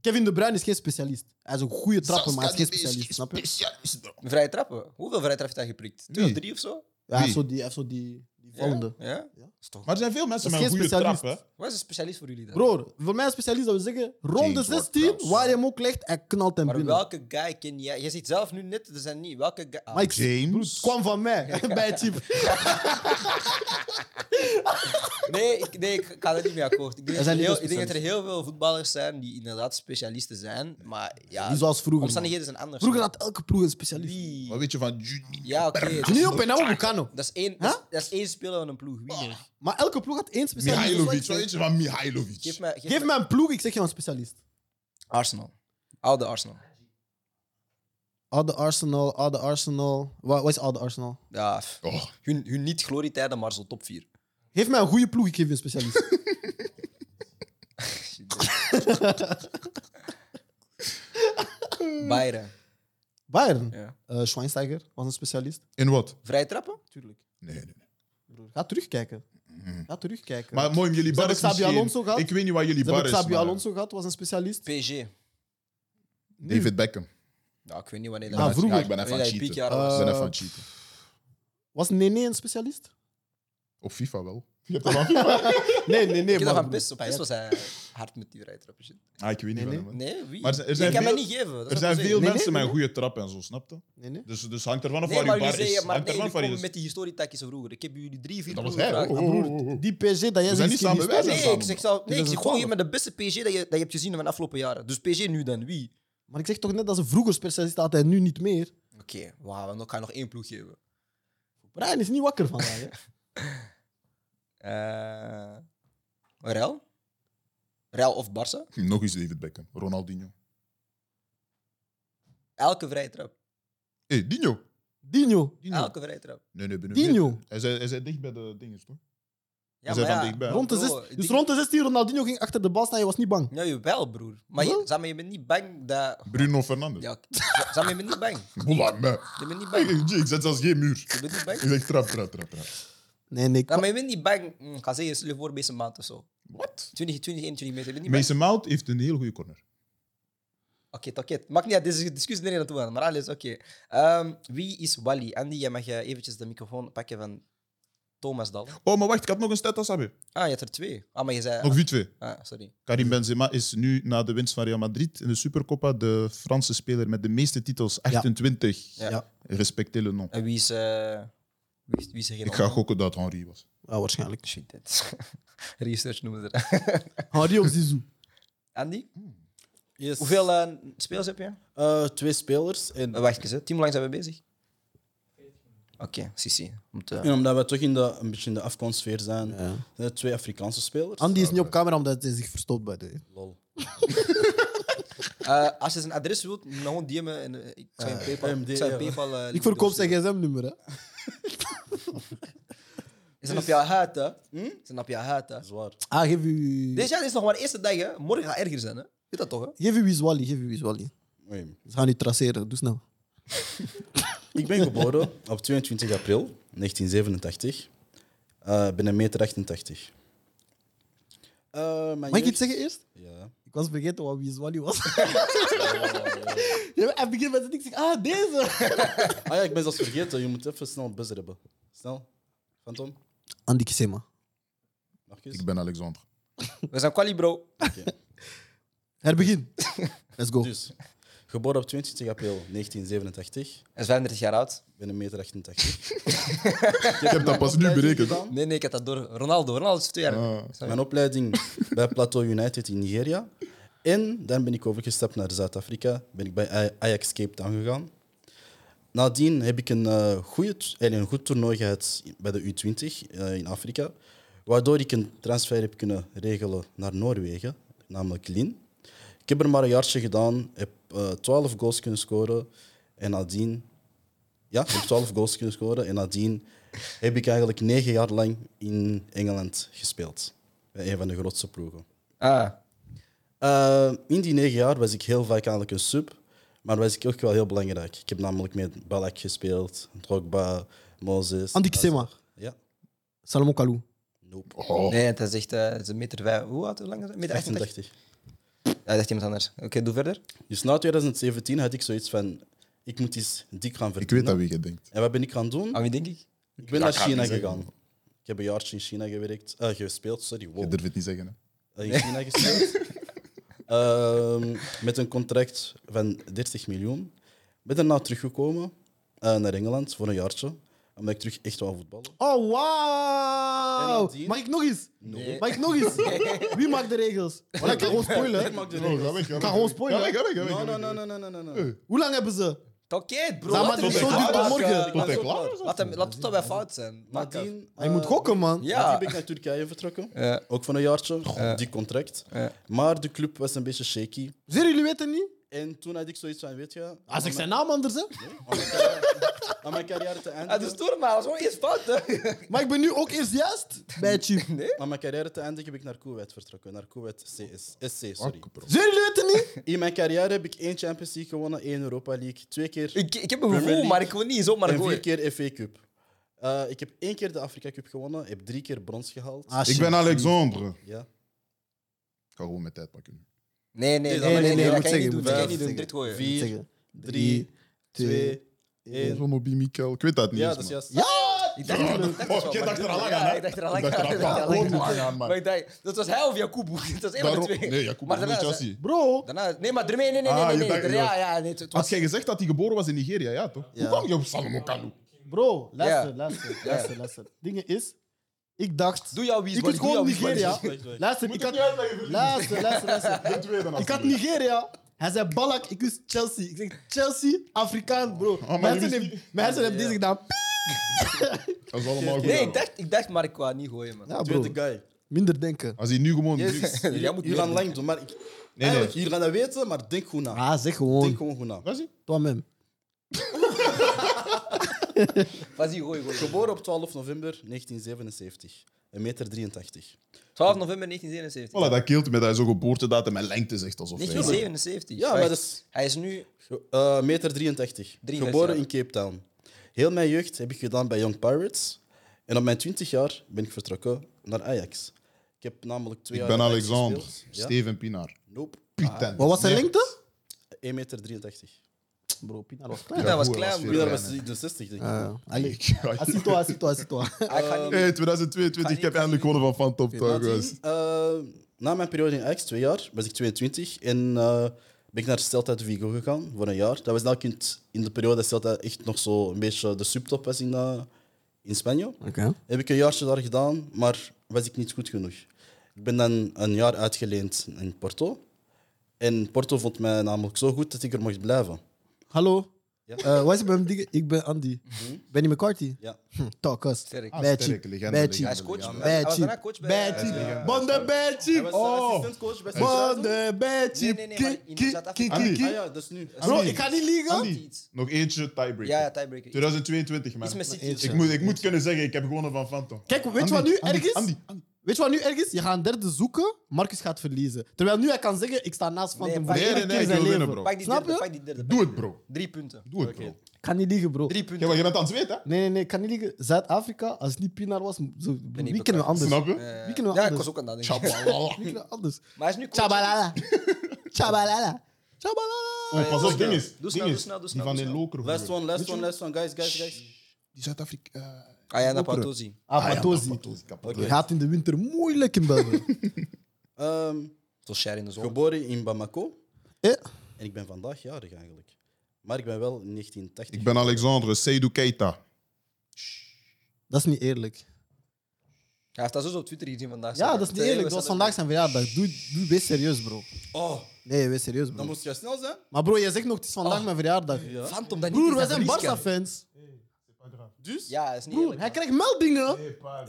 Kevin De Bruyne is geen specialist. Hij is een goede trapper, maar hij is geen specialist. Snap je? Specialist, bro. Vrije trappen? Hoeveel vrije trappen heeft hij geprikt? Twee of Wie? drie of zo? Ja, hij Wie? heeft zo die, hij heeft zo die, die vallende. Ja? ja? Ja. Is toch... Maar er zijn veel mensen Dat met is een goede geen trap, hè. specialist. Wat is een specialist voor jullie dan? Broer, voor mij een specialist zou zeggen, rond de James 16, Ward-Prowse. waar je hem ook legt, hij knalt hem Maar binnen. welke guy ken jij? Je ziet zelf nu net, er zijn niet. Welke guy? Ah, Maar ik James. het kwam van mij, bij het team. Nee, ik, nee, ik ga daar niet mee akkoord. Ik denk, dat Er zijn er niet heel, veel ik denk dat er heel veel voetballers zijn die inderdaad specialisten zijn. Maar ja, Niet zoals vroeger. man. omstandigheden zijn anders. Vroeger had elke ploeg een specialist. Wie? Wat weet je van Juni? Ja, oké. dat is- Nu op en nou Bucano. Dat is één, dat is, dat is één speler van een ploeg. Wie? nog? Maar elke ploeg had één specialist. dat is wat ik Mihailovic. Wat zeg. weet je van Mihailovic? Geef me, geef Geef me- mij een ploeg, ik zeg jou een specialist. Arsenal. Oude Arsenal. Oude Arsenal, oude Arsenal. Wa- Wat is oude Arsenal? Ja, f- Oh, hun, hun niet glorietijden, maar zo top 4. Geef mij een goede ploeg, ik geef je een specialist. Hmm. Bayern. Bayern. Ja. Eh, Schweinsteiger was een specialist. in wat? Vrije trappen? Tuurlijk. Nee, nee, nee. Ga terugkijken. Mm. Ga terugkijken. Maar mooi, jullie Ze hebben bar is Xabi misschien- Alonso gehad. Ik weet niet waar jullie Ze hebben bar is. Xabi maar- Alonso gehad, was een specialist. PSG. David Beckham. Ja, ik weet niet wanneer dat Ah, Ja, vroeger. Ik ben even aan het Wanneer dat cheaten. piekjaar was. Ik ben even Eh, aan het cheaten. Was Nene een specialist? Op FIFA wel. Je hebt dat van- Nee, nee, Eh, nee. Ik dacht maar- van best op. Best was hij hard met die vrije trappen. shit. Ah, ik weet niet Nee, wel, nee. man. Nee, wie? Maar er zijn- er je zijn kan veel- mij niet geven. dat Er is wat zijn ik veel zeg. Nee, mensen met nee, nee. een goede trap en zo, snap je? Nee, nee. Dus, dus hangt ervan af Nee, waar maar je bar jullie is. zeggen, maar Hangt nee, ervan jullie af waar je komen is. met die historietakjes van vroeger. Ik heb jullie drie, vier Dat was ploegen hij, gevraagd. hoor. Ah, broer. Oh, oh, oh. Die PSG dat jij zijn zegt niet is samen, wij zijn Nee, samen. ik zeg, zelf, nee, ik zeg gewoon twaalf. hier met de beste PSG dat je, dat je hebt gezien van de afgelopen jaren. Dus PSG nu dan, wie? Maar ik zeg toch net dat ze vroeger specialist had en nu niet meer. Oké, wauw, en dan kan je nog één ploeg geven. Brian is niet wakker vandaag. hè. Eh Real? Real of Barça? oh. Nog eens David Beckham. Ronaldinho. Elke vrije trap. Hé, hey, Dino. Dino. Dino. Elke vrije trap. Nee, nee, binnen Dino. Hij zei, hij zei dicht bij de dingen, toch? Ja, zijn maar van ja, dichtbij. Rond de bro, zes, dus die- rond de 16 Ronaldinho ging achter de bal staan, je was niet bang. Nou, jawel, broer. Maar je, Wel? zeg maar, je bent niet bang dat... Bruno Fernandes. Ja, oké. zeg maar, je bent niet bang. Bola, man. Je bent niet Ik, bang. ik zet zelfs geen muur. Je bent niet bang. Ik zeg trap, trap, trap, trap. Nee, nee. ik- Ja, maar je bent niet bang. Hm, Ik ga zeggen, stel je voor, bezig maand of zo. Wat? 20, 20, 21 meter. Je bent niet bang. Mason Mount heeft een heel goede corner. Oké, oké. Maakt niet uit, deze discussie erin naartoe gaan. Maar alles, oké. Ehm, wie is Wally? Andy, jij mag eh, eventjes de microfoon pakken van Thomas Dal. Oh, maar wacht, ik had nog een stat als hebben. Ah, je hebt er twee. Ah, maar je zei... Nog V2. Ah, sorry. Karim Benzema is nu na de winst van Real Madrid in de Supercoppa de Franse speler met de meeste titels, 28. Ja. Ja. Respectez le nom. En wie is... eh, wie, is- wie is er geen Ik ga ander? Ah, gokken dat Henry was. Ja, waarschijnlijk. Shit, dit. Research noemen ze dat. Henri of Zizou? Andy, Yes. hoeveel eh, spelers heb je? Eh, twee spelers. En, Eh, wacht eens, hè. Team, hoe lang zijn we bezig? Oké, Sissi. Om te... en omdat we toch in de, een beetje in de afkomstsfeer zijn, Ja. zijn het twee Afrikaanse spelers. Andy is niet op camera omdat hij zich verstopt bij de... Lol. Eh, als je zijn adres wilt, dan gewoon die me. En, eh, ik zou je PayPal. AMD, ik zou je ja. PayPal eh, Ik link verkoop zijn doorsturen. gsm-nummer, hè. Ze zijn op jouw huid, hè? Ze zijn op jouw huid, hè? Zwaar. Ah, geef u... Deze jaar is nog maar de eerste dag, hè? Morgen gaat erger zijn, hè? Weet dat toch, hè? Geef u Wizwali, geef u Wizwali. Oei. Ze gaan u traceren, doe snel. Ik ben geboren op 22 april 1987. Eh, Ik ben een meter 88. Eh, mijn Mag ik jeugd- iets zeggen eerst? Ja. Ik was vergeten wat Wizwali was. Ja, maar Hij begint met het ding, ik zeg, ah, deze. Ah ja, ik ben zelfs vergeten. Je moet even snel een buzzer hebben. Snel. Phantom. Andy Kisema. Marcus. Ik ben Alexandre. We zijn quali, bro. Oké. Herbegin. Let's go. Dus, Geboren op 22 april 1987. is 35 jaar oud. Ik ben een meter 88. Ik heb dat pas nu berekend. Nee, nee, ik had dat door. Ronaldo, Ronaldo is twee jaar. Ah. Sorry. Mijn opleiding bij Plateau United in Nigeria. En dan ben ik overgestapt naar Zuid-Afrika. Ben ik bij Aj- Ajax Cape Town gegaan. Nadien heb ik een, eh goede, t- en een goed toernooi gehad bij de U20 eh, in Afrika. Waardoor ik een transfer heb kunnen regelen naar Noorwegen, namelijk Lien. Ik heb er maar een jaartje gedaan, heb eh 12 goals kunnen scoren. En nadien ja, ik heb 12 goals kunnen scoren. En nadien heb ik eigenlijk negen jaar lang in Engeland gespeeld. Bij een van de grootste ploegen. Ah, Eh, in die negen jaar was ik heel vaak eigenlijk een sub. Maar was ik ook wel heel belangrijk. Ik heb namelijk met Balak gespeeld, Drogba, Moses. Andy Kisema, Ja. Salomon Kalou. Nope. Oh, Nee, dat is echt eh, dat is een meter vijf. Hoe oud? Hoe lang is het? Meter 88? 88. Ja, dat is iemand anders. Oké, doe verder. Dus na 2017 had ik zoiets van... Ik moet eens dik gaan ik verdienen. weet dat Ah, wie je denkt. En wat ben ik gaan doen? Aan wie denk ik? Ik Dat ben naar gaat niet China zeggen. gegaan. Ik heb een jaartje in China gewerkt, eh, gespeeld. Sorry, wow. Je durft het niet zeggen. Hè. Eh, in China gespeeld. Ehm, met een contract van 30 miljoen. Ben daarna teruggekomen eh, naar Engeland voor een jaartje. Omdat ik terug echt wou voetballen. Oh, En wauw! nadien? Mag ik nog eens? Nee. Mag ik nog eens? Wie maakt de regels? Want ik kan gewoon spoilen. hè. Oh, ga weg, ga weg. Kan gewoon spoilen. Ga weg, ga weg, ga weg, Nee, ga nee, weg. nee, nee, nee, nee, nee. Hoe lang hebben ze? Oké, bro. Zeg laat maar, hem tot niet hij fout klaar is, maken. eh, Tot hij klaar is, Laat hem, laat het tot bij fout zijn. Nadien. Nadien, Hij moet eh, gokken, man. Nadien Ja. ben ik naar Turkije vertrokken. Ja. Ook voor een jaartje. Dik contract. Ja. Maar de club was een beetje shaky. Zeer, jullie weten niet? En toen had ik zoiets van, weet je... Als om ik zijn naam anders heb. mijn- om mijn carrière- Om mijn carrière te Ah, dus eindigen... door, maar dat is gewoon eerst fout, hè? Maar ik ben nu ook eerst juist bij het chief. Nee? Om mijn carrière te eindigen heb ik naar Kuwait vertrokken. Naar Kuwait CS, SC, sorry. Fuck, bro. Zeer, jullie weten niet? In mijn carrière heb ik één Champions League gewonnen, één Europa League, twee keer Ik, ik heb een Premier gevoel, League. maar ik wil niet zomaar en vier gooien. keer FA Cup. Eh, ik heb één keer de Afrika Cup gewonnen, heb drie keer brons gehaald. Ah, Ah, Ik ben Alexandre. Ik Ja. ga gewoon mijn tijd pakken. Nee, nee, nee, Nee, nee, nee, nee, je nee, dat moet kan je niet zeggen, doen. je Dat kan je niet moet doen. Direct gooien. zeggen. Vier, Zeggen. drie, twee, één. Ronobi Mikkel. Ik weet dat niet. Ja, eens, dat is man. juist. Ik dacht, ik dacht, Oh, jij dacht er al lang aan, hè? Ik dacht er al lang Ik aan. dacht er al Ik dacht er al lang lang aan, aan. man. Maar ik dacht, dat was hij of Jacobo. Dat was één van de Daarom- twee. Nee, Jacob, Maar maar daarna- Chelsea. Bro, Daarna, nee, maar nee, nee, nee, Ah, nee, je nee, dacht- nee. Ja, ja, nee, het- het Had was... jij gezegd dat hij geboren was in Nigeria, ja toch? Ja. Hoe kwam je op Salomon Kalou? bro, luister, Ja. luister, luister, luister. Dingen is, ik dacht, Doe jouw wies, ik boy, was doe jouw gewoon wies, boy. Nigeria. wacht. Luister, ik had, luister, luister, luister. De tweede Ik had Nigeria. Hij zei Balak, ik wist Chelsea. Ik zeg Chelsea, Afrikaan, bro. Oh, maar Mijn jullie- hersen heeft- mijn hersen heeft deze gedaan. Dat is allemaal goed. Nee, hè, ik dacht, ik dacht, maar ik wou niet gooien, man. Ja, bro. Tweede guy. Minder denken. Als hij nu gewoon... Yes. Jij moet Jullie gaan lang doen, maar ik... nee. Eigenlijk, jullie gaan dat weten, maar denk goed na. Ah, zeg Denk gewoon. gewoon goed na. Was hij? Toi-même. Was die gooi, gooi. Geboren op 12 november 1977. 1,83 meter. 83. 12 november 1977. Voilà, dat keelt me dat hij zo'n geboortedatum en lengte zegt alsof hij... 1977. Ja, maar dat is... Hij is nu... Ge- eh, meter 83. 83, Geboren ja. in Cape Town. Heel mijn jeugd heb ik gedaan bij Young Pirates. En op mijn 20 jaar ben ik vertrokken naar Ajax. Ik heb namelijk twee Ik jaar ben bij Ajax Alexander. gespeeld. Ja? Steven Pinaar. Nope. Putain. Wat was zijn Nee. lengte? 1,83 meter. 83. Bro, Pina was Ja, klein. Dat was goed, klein, veel Pieter kleiner. was 63, denk ik. Ah, Allee. Ik- Assis-toi, assis-toi, assis-toi. Ah, ik ga niet... Hey, 2022, ik heb eindelijk gewonnen van Fan Top Tower, guys. Nadien, eh, na mijn periode in Ajax, twee jaar, was ik 22. En eh, ben ik naar Celta de Vigo gegaan voor een jaar. Dat was nou in t- in de periode dat Celta echt nog zo een beetje de subtop was in, eh, in Spanje. Oké. Heb ik een jaartje daar gedaan, maar was ik niet goed genoeg. Ik ben dan een jaar uitgeleend in Porto. En Porto vond mij namelijk zo goed dat ik er mocht blijven. Hallo. Ja. Eh, Wat is het met hem dingen? Ik ben Andy. Benny McCarthy. Ja. Hm, Talk us. Sterk. Ah, Bad Hm? sterk, chick. legende, Bad chick. Hij is coach. Ja, Hij- Bad hij was daarna chick. coach bij... Bad eh, chick. Van de bad Hij chick. was Oh. assistentcoach bij Van Zuid-Afrika. de bad Nee, chick. nee, nee, maar in Ki- ki- Zuid-Afrika- ki- ki- Ah ja, dat is nu. Bro, ik ga niet liegen. Andy, nog eentje tiebreaker. Ja, ja, tiebreaker. 2022, man. Iets met City. Ik moet, ik moet kunnen zeggen, ik heb gewonnen van Phantom. Kijk, weet je Andy, wat nu Andy, erg is? Andy, Andy. Weet je wat nu erg is? Je gaat een derde zoeken, Marcus gaat verliezen. Terwijl nu hij kan zeggen, ik sta naast Van Nee, den pak- Broek. Nee, nee, nee, ik wil winnen, bro. Pak die Snap derde, je? pak die derde. Doe het, bro. Drie punten. Doe het, bro. Ik kan niet liegen, bro. Nee, Drie Kijk, punten. maar je bent aan het zweten, hè? nee, nee, ik kan niet liegen. Zuid-afrika, als het niet Pinaar was, zo, wie kennen we bepaald. anders? Snap je? Eh, Wie kennen we Ja, ik anders? was ook aan dat denken. Tjabalala. Wie kennen we anders? Maar hij is nu coach. Chabalala. Chabalala. Chabalala. Oh, pas doe op, ding snel. is. Doe ding snel, doe is, snel, doe Die snel, van doe den snel. Loker. Last one, last one, last one. Guys, guys, guys. Die Zuid-Afrika. eh, Ayana Operen. Patozi. Ah, Ah, ja, Patozi. Patozi, kapot. Oké. Gaat in de winter moeilijk in België. Ehm, Zoals Sher in de zon. geboren in Bamako. Eh, En ik ben vandaag jarig eigenlijk. Maar ik ben wel in 1980. Ik ben Alexandre Seydou Keita. Dat is niet eerlijk. Hij heeft dat zo op Twitter gezien vandaag. Ja, dat is niet eerlijk. Dat was vandaag zijn verjaardag. Doe, doe, wees serieus, bro. Oh, Nee, wees serieus, dan bro. moest je snel zijn. Maar bro, jij zegt nog, het is vandaag mijn verjaardag. Phantom, dat niet Broer, is wij dat zijn verlies kan. Barca-fans. Dus? Ja, dat is niet Broer, eerlijk. hij krijgt meldingen.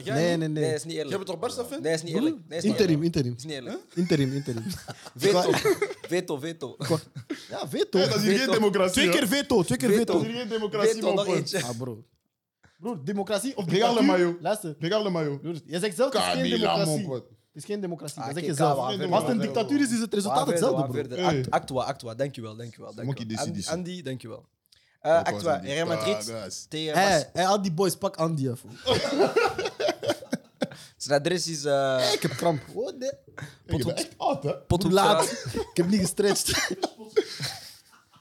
Jij Nee, niet? Nee, nee, dat nee. is niet eerlijk. Jij bent toch Barca Nee, fan? dat is niet eerlijk. Nee, dat is niet Interim, eerlijk. interim. Dat is niet eerlijk. Interim, interim. Veto. Veto, veto. Ja, veto. dat is hier geen Veto. democratie. Twee hè? keer veto, twee keer Dat veto. is hier geen democratie, Veto, man. nog punt. eentje. Ah, bro. Broer, democratie of Regarde, dictatuur? Mayo. Luister. Regarde, Mayo. Broer, jij zegt zelf, het is geen Camila, democratie. mon Het is geen democratie, Ah, dat zeg kijk, je ah, zelf. waar verder, Als het waar een verder, dictatuur is, is het resultaat hetzelfde, bro. Hey. Act- Actua, Actua, dankjewel, dankjewel. Monkey dankjewel. DC, Andy- DC. Andy, dankjewel. Eh Actua, Andy. Real Madrid Ah, nice. tegen Hé, Bas- hé, al die boys, pak Andy even. Zijn adres is eh Ik heb kramp. Oh, nee. Ik ben echt oud, hè? Hoe Pothoekstraat. laat? Ik heb niet gestretched.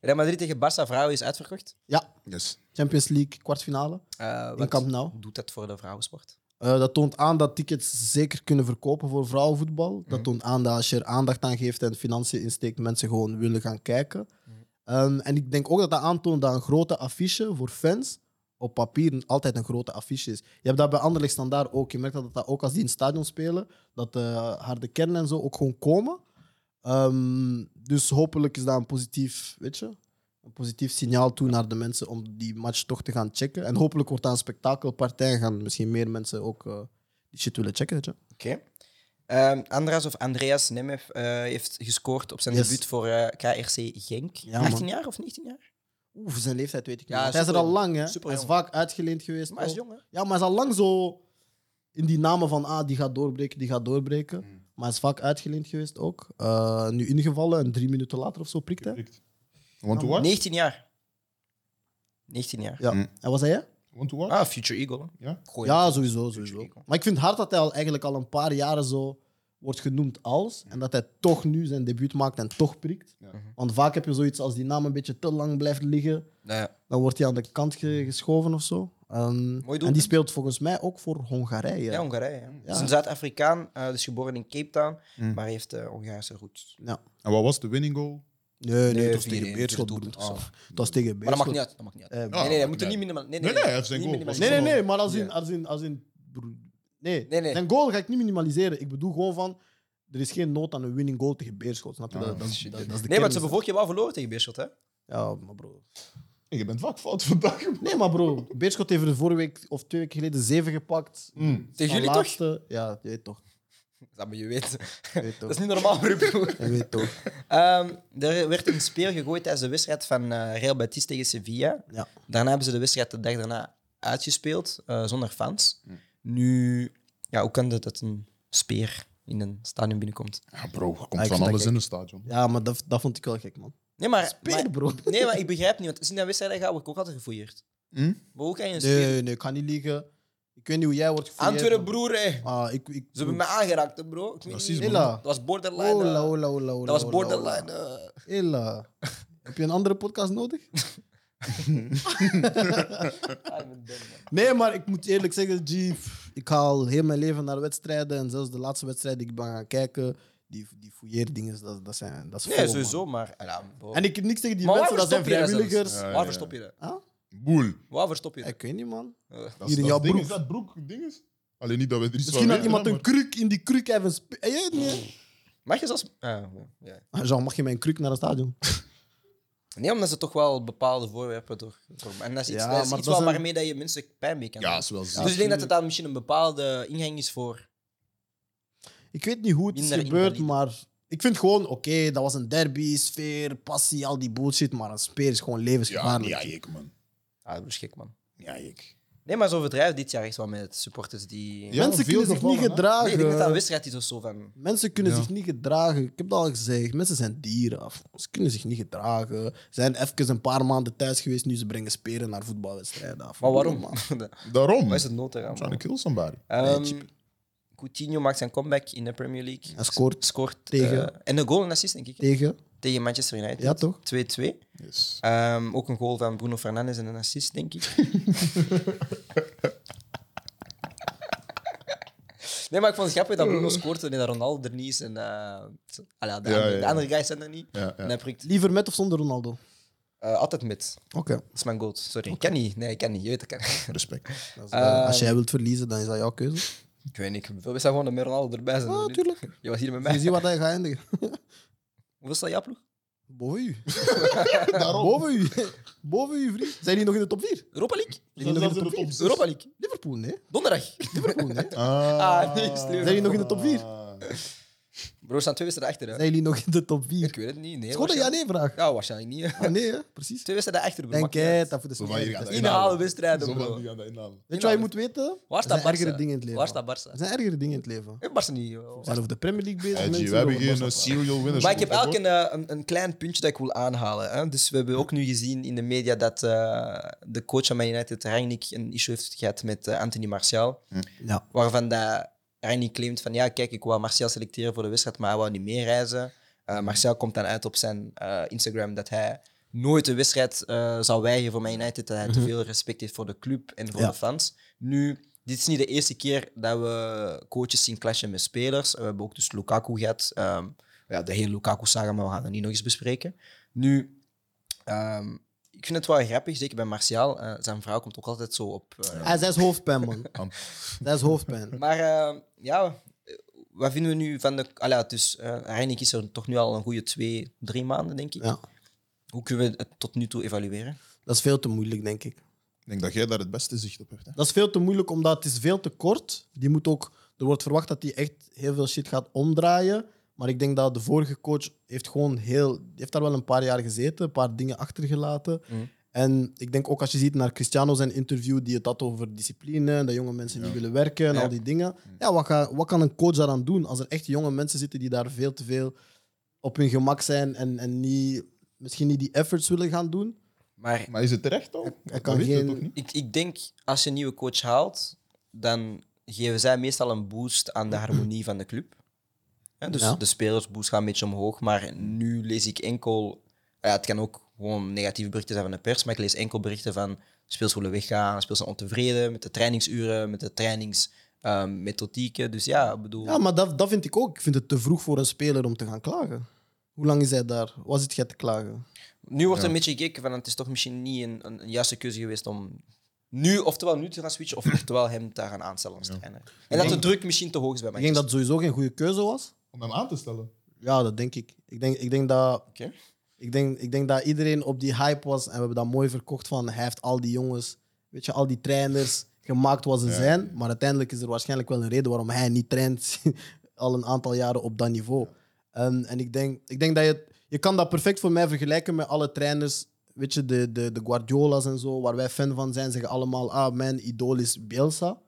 Real Madrid tegen Barça vrouwen is uitverkocht. Ja, Yes. Champions League kwartfinale. Eh, In wat Camp Nou. Doet dat voor de vrouwensport? Eh, dat toont aan dat tickets zeker kunnen verkopen voor vrouwenvoetbal. Dat toont aan dat als je er aandacht aan geeft en financiën insteekt, mensen gewoon willen gaan kijken. Ehm, en ik denk ook dat dat aantoont dat een grote affiche voor fans op papier altijd een grote affiche is. Je hebt dat bij Anderlecht standaard ook. Je merkt dat dat ook als die in het stadion spelen, dat de harde kern en zo ook gewoon komen. Ehm, dus hopelijk is dat een positief, weet je, een positief signaal toe naar de mensen om die match toch te gaan checken. En hopelijk wordt dat een spektakelpartij en gaan misschien meer mensen ook eh, die shit willen checken, weet je. Oké. Ehm, Andras of Andreas Nemef eh, heeft gescoord op zijn Yes. debuut voor eh, KRC Genk. Ja, man. Oh. 18 jaar of 19 jaar? Oeh, voor zijn leeftijd weet ik niet. Ja, want hij is er super al lang, hè. super Hij is jong. vaak uitgeleend geweest. Maar hij is al. jong, hè? Ja, maar hij is al lang zo in die namen van ah, die gaat doorbreken, die gaat doorbreken. Mm. Maar hij is vaak uitgeleend geweest ook. Eh, nu ingevallen en drie minuten later of zo prikt Mm. hij. Want to watch? 19 jaar. 19 jaar. Ja. Mm. En wat zei jij? Want to watch? Ah, Future Eagle. hè? Ja. Goeie. Ja, sowieso, Future sowieso. Eagle. Maar ik vind hard dat hij al eigenlijk al een paar jaren zo wordt genoemd als. En dat hij toch nu zijn debuut maakt en toch prikt. Ja. Want vaak heb je zoiets als die naam een beetje te lang blijft liggen. Nou ja. Dan wordt hij aan de kant ge- geschoven of zo. Ehm, en doelpunt. die speelt volgens mij ook voor Hongarije. Ja, Hongarije. Ja. Het is een Zuid-Afrikaan, eh dus geboren in Cape Town, maar heeft eh Hongaarse roots. Ja. En wat was de winning goal? Nee, nee, Nee, dat was 4-1, tegen Beerschot. doelpunt. broer. Oh. Dat was tegen Beerschot. Maar dat maakt niet uit. Dat maakt niet uit. Eh, nee, nee, maakt niet we moeten uit. niet minimaal. Nee, Nee, nee, nee, hij heeft zijn niet goal. minimaal- Nee, nee, nee, maar als in. Ja. Als in, als in broer, nee. Nee, nee. zijn goal ga ik niet minimaliseren. Ik bedoel gewoon van. Er is geen nood aan een winning goal tegen Beerschot. Snap je? dat, dat, dat, dat is de Ah, Nee, want kern. ze hebben vorig jaar wel verloren tegen Beerschot, hè? Ja, maar bro. Hey, je bent vaak fout vandaag. Nee, maar bro. Beerschot heeft er vorige week of twee weken geleden zeven gepakt. Hmm. Tegen jullie Van toch? laatste. Ja, je weet toch. Dat moet je weten. Je weet Dat toch. is niet normaal, broer. Je weet toch. Ehm, er werd een speer gegooid tijdens de wedstrijd van eh, Real Betis tegen Sevilla. Ja. Daarna hebben ze de wedstrijd de dag daarna uitgespeeld, eh, zonder fans. Nu, ja, hoe kan dat dat een speer in een stadion binnenkomt? Ja, bro, er Ah, komt ik van vind alles dat in het stadion. Ja, maar dat, dat vond ik wel gek, man. Nee, maar... Peer, maar- bro. Nee, maar ik begrijp niet, want als je naar wedstrijden gaat, word ik ook altijd gefouilleerd. Hm? Maar hoe kan je een speer... Nee, nee, ik kan niet liegen. Ik weet niet hoe jij wordt gefouilleerd. Antwerpen, maar- broer, hè. Ah, ik, ik, Ze hebben mij aangeraakt, hè, bro. Ik weet Racisme, niet. man. Dat was borderline. eh. Ola, ola, ola, ola, dat was ola, borderline. ola. eh. Ella. Heb je een andere podcast nodig? Ah, ik ben dom, man. Nee, maar ik moet eerlijk zeggen, G, pff, ik ga al heel mijn leven naar wedstrijden. En zelfs de laatste wedstrijd die ik ben gaan kijken, die, die fouilleerdingen, dat, dat, zijn, dat is vol, Nee, man. sowieso, maar... ah, ja, bro. En ik heb niks tegen die Maar mensen, dat zijn verstop je dat vrijwilligers. zelfs? Ja, ja, Waar ja. verstop je dat? Huh? Boel. Waar verstop je dat? Ik weet niet, man. Dat Hier in dat jouw ding broek. Is dat broek dinges? Alleen niet dat we er iets Misschien van had iemand weten, een kruk in die kruk even... spe- Eh, ja, nee. Mag je zelfs... Ah, ja. Ah, Jean, mag je mijn kruk naar het stadion? Nee, omdat ze toch wel bepaalde voorwerpen door. door- En dat is iets, Ja, dat is maar iets dat wel zijn- waarmee dat je mensen pijn mee kan maar- Ja, doen. is wel Dus zo. ik denk dat het daar misschien een bepaalde ingang is voor. Ik weet niet hoe het is Minder gebeurd, invalide. maar... Ik vind gewoon, oké, dat was een derby, sfeer, passie, al die bullshit. Maar een speer is gewoon Ja, levensgevaarlijk. ja, ik, man. Ah, dat is gek, man. Ja, ik. Nee, maar ze overdrijven dit jaar echt wel met supporters die. Ja, veel Mensen kunnen zich gevallen, niet hè? gedragen. Nee, ik denk dat dat een wedstrijd is of zo van. Mensen kunnen Ja. zich niet gedragen. Ik heb dat al gezegd. Mensen zijn dieren. af. Ze kunnen zich niet gedragen. Ze zijn even een paar maanden thuis geweest. Nu ze brengen speren naar voetbalwedstrijden. af. Maar waarom? Man. Waar Daarom. is het nood eraan? trying to kill man? somebody. Ehm, Coutinho maakt zijn comeback in de Premier League. Hij scoort Scoort tegen- eh, en een goal en assist, denk ik. tegen. Tegen Manchester United. Ja, toch? 2-2. Yes. Ehm, ook een goal van Bruno Fernandes en een assist, denk ik. nee, Nee, maar ik vond het grappig dat Bruno scoort en dat Ronaldo er niet is. En eh, t- ah ja, de, Ja, andere, ja, de ja. andere guys zijn er niet. Ja, ja. En hij prikt Liever met of zonder Ronaldo? Oké. eh, altijd met. Dat is mijn goat. Sorry, ik kan niet. Nee, ik kan niet. Je weet, ik kan niet. Respect. Dat is wel- Eh, Als jij wilt verliezen, dan is dat jouw keuze. Ik weet niet. We zijn gewoon met Ronaldo erbij. Zijn, Ah, hoor. tuurlijk. Je was hier met Je mij. ziet waar dat je gaat eindigen. Hoeveel staat jouw ploeg? Boven u. Boven u. Boven u, vriend. Zijn jullie nog in de top 4? Europa League? Zijn jullie nog in de top 4? Europa League. Liverpool, nee. Donderdag. Liverpool, nee. Ah, Ah, nee, is leuk. Zijn jullie nog in de top vier? Broers staan twee wedstrijden achter. hè. Zijn jullie nog in de top 4? Ik weet het niet. Nee, Het is gewoon een waarschijnlijk- ja-nee-vraag. Ja, waarschijnlijk niet. hè. Ah, nee, hè? precies. Twee wedstrijden achter. bro. Denk Maakt niet jij uit. dat voor de Zo van, hier spelers gaat is? dat Inhalen wedstrijden, Zo van, bro. die gaan dat inhalen. Weet je wat je moet weten? Waar staat er zijn Barca? ergere dingen in het leven. Waar staat Barca? Er zijn ergere dingen in het leven. Ik Barca Eh, niet. joh. We zijn over de Premier League bezig. Hey, mensen G, we willen hebben over hier Barca een praten. serial winner. Maar ik heb elk een, eh, een, een klein puntje dat ik wil aanhalen. Hè? Dus we hebben ook nu gezien in de media dat eh, de coach van Man United, Rangnick, een issue heeft gehad met eh, Anthony Martial. eh, Ja. Waarvan dat Rangnick claimt van ja, kijk, ik wou Martial selecteren voor de wedstrijd, maar hij wou niet meereizen. Eh Martial komt dan uit op zijn eh, Instagram dat hij nooit de wedstrijd eh, zou weigeren voor Man United, dat hij te veel respect heeft voor de club en voor Ja. de fans. Nu, dit is niet de eerste keer dat we coaches zien clashen met spelers. We hebben ook dus Lukaku gehad. ehm, ja, de hele Lukaku-saga, maar we gaan dat niet nog eens bespreken. Nu, ehm, ik vind het wel grappig, zeker bij Martial. eh, zijn vrouw komt ook altijd zo op. eh, Ah, dat is hoofdpijn, man. Man. Dat is hoofdpijn. maar eh, ja, eh, wat vinden we nu van de. Ah ja, dus eh Reinik is er toch nu al een goede twee, drie maanden, denk ik. Ja. Hoe kunnen we het tot nu toe evalueren? Dat is veel te moeilijk, denk ik. Ik denk dat jij daar het beste zicht op hebt. Hè? Dat is veel te moeilijk, omdat het is veel te kort. Die moet ook, er wordt verwacht dat hij echt heel veel shit gaat omdraaien. Maar ik denk dat de vorige coach heeft gewoon heel... die heeft daar wel een paar jaar gezeten, een paar dingen achtergelaten. Mm. En ik denk ook als je ziet naar Cristiano zijn interview, die het had over discipline, dat jonge mensen niet willen werken en Ja. Mhm. al die dingen. Ja, wat, ga- wat kan een coach daaraan doen als er echt jonge mensen zitten die daar veel te veel op hun gemak zijn en, en niet, misschien niet die efforts willen gaan doen? Maar Maar is het terecht dan? hij Dat kan weten we geen- toch niet? ik, ik denk als je een nieuwe coach haalt, dan geven zij meestal een boost aan de harmonie van de club. Ja, dus Ja. de spelersboost gaat een beetje omhoog, maar nu lees ik enkel. ah Ja, het kan ook gewoon negatieve berichten zijn van de pers, maar ik lees enkel berichten van spelers willen weggaan, spelers zijn ontevreden met de trainingsuren, met de trainingsmethodieken. dus ja, ik bedoel. Ja, maar dat, dat vind ik ook. Ik vind het te vroeg voor een speler om te gaan klagen. Hoe lang is hij daar? Was het jij te klagen? Nu wordt er een beetje gekeken van het is toch misschien niet een, een, een juiste keuze geweest om nu, oftewel nu te gaan switchen, of oftewel hem te gaan aanstellen als trainer. En dat de druk misschien te hoog is bij Ik denk mij. dat het sowieso geen goede keuze was. Om hem aan te stellen. Ja, dat denk ik. Ik denk, ik denk dat Oké. Ik denk, ik denk dat iedereen op die hype was en we hebben dat mooi verkocht van hij heeft al die jongens, weet je, al die trainers gemaakt wat ze zijn. Maar uiteindelijk is er waarschijnlijk wel een reden waarom hij niet traint al een aantal jaren op dat niveau. En, en ik, denk, ik denk dat je, je kan dat perfect voor mij vergelijken met alle trainers, weet je, de, de, de Guardiola's en zo, waar wij fan van zijn, zeggen allemaal, ah, mijn idool is Bielsa.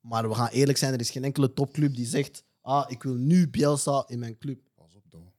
Maar we gaan eerlijk zijn, er is geen enkele topclub die zegt, ah, ik wil nu Bielsa in mijn club. Pas op dan.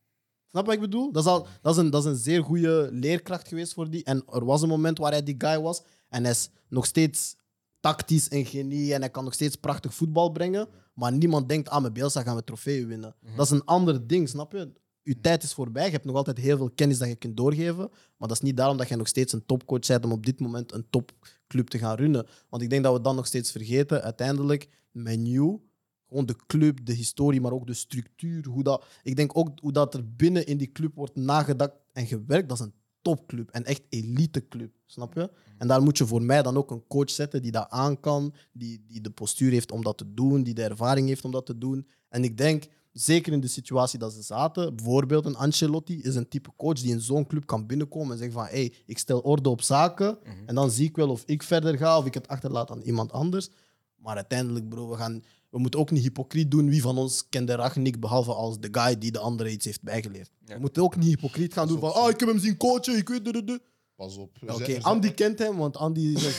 Snap je wat ik bedoel? Dat is, al, dat, is een, dat is een zeer goede leerkracht geweest voor die. En er was een moment waar hij die guy was. En hij is nog steeds tactisch een genie. En hij kan nog steeds prachtig voetbal brengen. Maar niemand denkt, ah, met Bielsa gaan we trofee winnen. Dat is een ander ding, snap je? Je tijd is voorbij. Je hebt nog altijd heel veel kennis dat je kunt doorgeven. Maar dat is niet daarom dat je nog steeds een topcoach bent om op dit moment een topclub te gaan runnen. Want ik denk dat we dan nog steeds vergeten, uiteindelijk, menu gewoon de club, de historie, maar ook de structuur. Hoe dat, ik denk ook hoe dat er binnen in die club wordt nagedacht en gewerkt. Dat is een topclub en echt eliteclub, snap je? En daar moet je voor mij dan ook een coach zetten die dat aan kan, die, die de postuur heeft om dat te doen, die de ervaring heeft om dat te doen. En ik denk, zeker in de situatie dat ze zaten, bijvoorbeeld een Ancelotti is een type coach die in zo'n club kan binnenkomen en zeggen van hé, hey, ik stel orde op zaken en dan zie ik wel of ik verder ga of ik het achterlaat aan iemand anders. Maar uiteindelijk, bro, we, gaan, we moeten ook niet hypocriet doen. Wie van ons kende Ragnik behalve als de guy die de andere iets heeft bijgeleerd? We moeten ook niet hypocriet gaan doen van, ah, ik heb hem zien coachen, ik weet... duh, duh, duh." Pas op. Ja, Oké, Er zijn- er zijn- Andy kent hem, want Andy is een,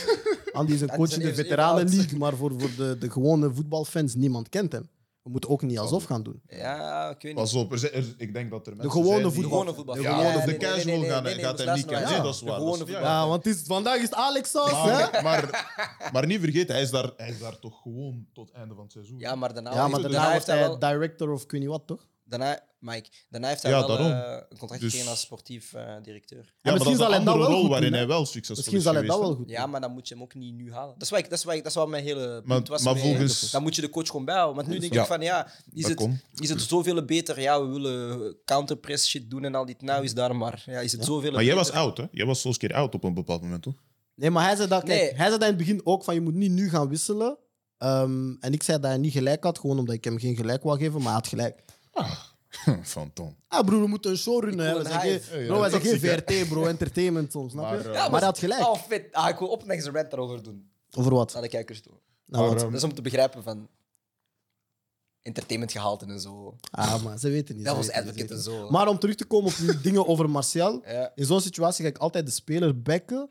Andy is een coach in de even- even Veteranenleague. Maar voor, voor de, de gewone voetbalfans, niemand kent hem. We moeten ook niet alsof gaan doen. Ja, ik weet niet. Pas op. Er zijn- er- ik denk dat er mensen gewone zijn die- De voetbal- gewone voetbal. De gewone Ja, de nee, nee, nee, casual nee, gaan- nee, nee, gaat nee, hem nee, niet nee, kennen. nee, Nee, dat is de waar. gewone Dat is- ja, voetbal. ja. Ja, want het is, vandaag is het Alex Saus, hè? Maar, maar, maar niet vergeten, hij is, daar, hij is daar toch gewoon tot het einde van het seizoen. Ja, maar daarna, Ja, maar daarna daarna was heeft hij hij wel... director of ik weet niet wat, toch? Daarna, Mike, daarna heeft hij Ja, wel daarom. eh, een contract Dus- gekregen als sportief eh, directeur. Ja, maar dat misschien is zal een hij dat andere wel rol goed waarin doen, hij wel succesvol Misschien is zal hij dat geweest, hè. wel goed doen. Ja, maar dan moet je hem ook niet nu halen. Dat is wat, ik, dat is wat, ik- dat is wat mijn hele Maar- punt was. maar mee. volgens- Dan moet je de coach gewoon bijhouden. Want nu denk Ja. ik van, ja, is Dat het, kon. is het zoveel beter? Ja, we willen counterpress shit doen en al dit. Nou is daar maar. Ja, is het zoveel Maar jij was beter? oud, hè? Jij was zo'n keer oud op een bepaald moment, toch? Nee, maar hij zei, dat, kijk, Nee. hij zei dat in het begin ook van je moet niet nu gaan wisselen. Ehm, en ik zei dat hij niet gelijk had, gewoon omdat ik hem geen gelijk wou geven, maar hij had gelijk. Van Tom. Ah broer, we moeten een show runnen. hè. wil We een zijn geen, hive. Ja, ja. bro, wij zijn geen Toxic, VRT, bro, entertainment soms, snap je? Maar, Maar, eh, Ja, hij had gelijk. Oh, vet. Ah, ik wil op een rant daarover doen. Over wat? Naar de kijkers toe. Nou, Maar, wat? ehm, Dat is om te begrijpen van entertainment gehalte en zo. Ah, maar ze weten niet. ze Devil's weten niet, advocate ze en weten zo. niet. Maar om terug te komen op die dingen over Martial. Ja. In zo'n situatie ga ik altijd de speler bekken.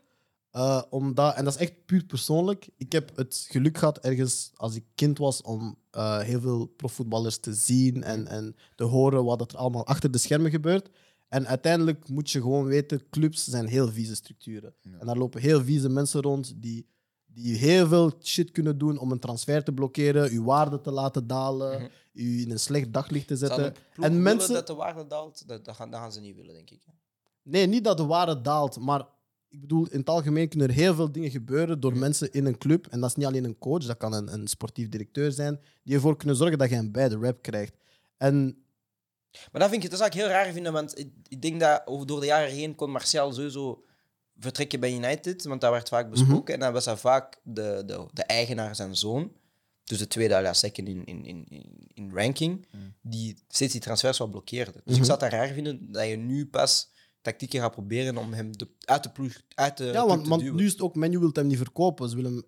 eh, omdat, en dat is echt puur persoonlijk. Ik heb het geluk gehad ergens als ik kind was om eh, heel veel profvoetballers te zien en, en te horen wat dat er allemaal achter de schermen gebeurt. En uiteindelijk moet je gewoon weten, clubs zijn heel vieze structuren. En daar lopen heel vieze mensen rond die, die heel veel shit kunnen doen om een transfer te blokkeren, uw waarde te laten dalen, u in een slecht daglicht te Zou een zetten. ploeg eh, En willen mensen... dat de waarde daalt, dat, dat, gaan, dat gaan ze niet willen, denk ik. Nee, niet dat de waarde daalt, maar ik bedoel, in het algemeen kunnen er heel veel dingen gebeuren Mm. door mensen in een club. En dat is niet alleen een coach, dat kan een, een sportief directeur zijn, die ervoor kunnen zorgen dat je hem bij de rap krijgt. En Maar dat, vind ik, dat zou ik heel raar vinden, want ik, ik denk dat over, door de jaren heen kon Marcel sowieso vertrekken bij United, want dat werd Mhm. vaak besproken. En dan was hij vaak de, de, de eigenaar zijn zoon, dus de tweede à la second in, in, in, in- in ranking, Mhm. die steeds die transfers wel blokkeerde. Dus ik zou het dan raar vinden dat je nu pas tactieken gaat proberen om hem de, uit de ploeg uit de ja, club want, te want Eh, duwen. nu is het ook, menu wil hem niet verkopen. Ze willen hem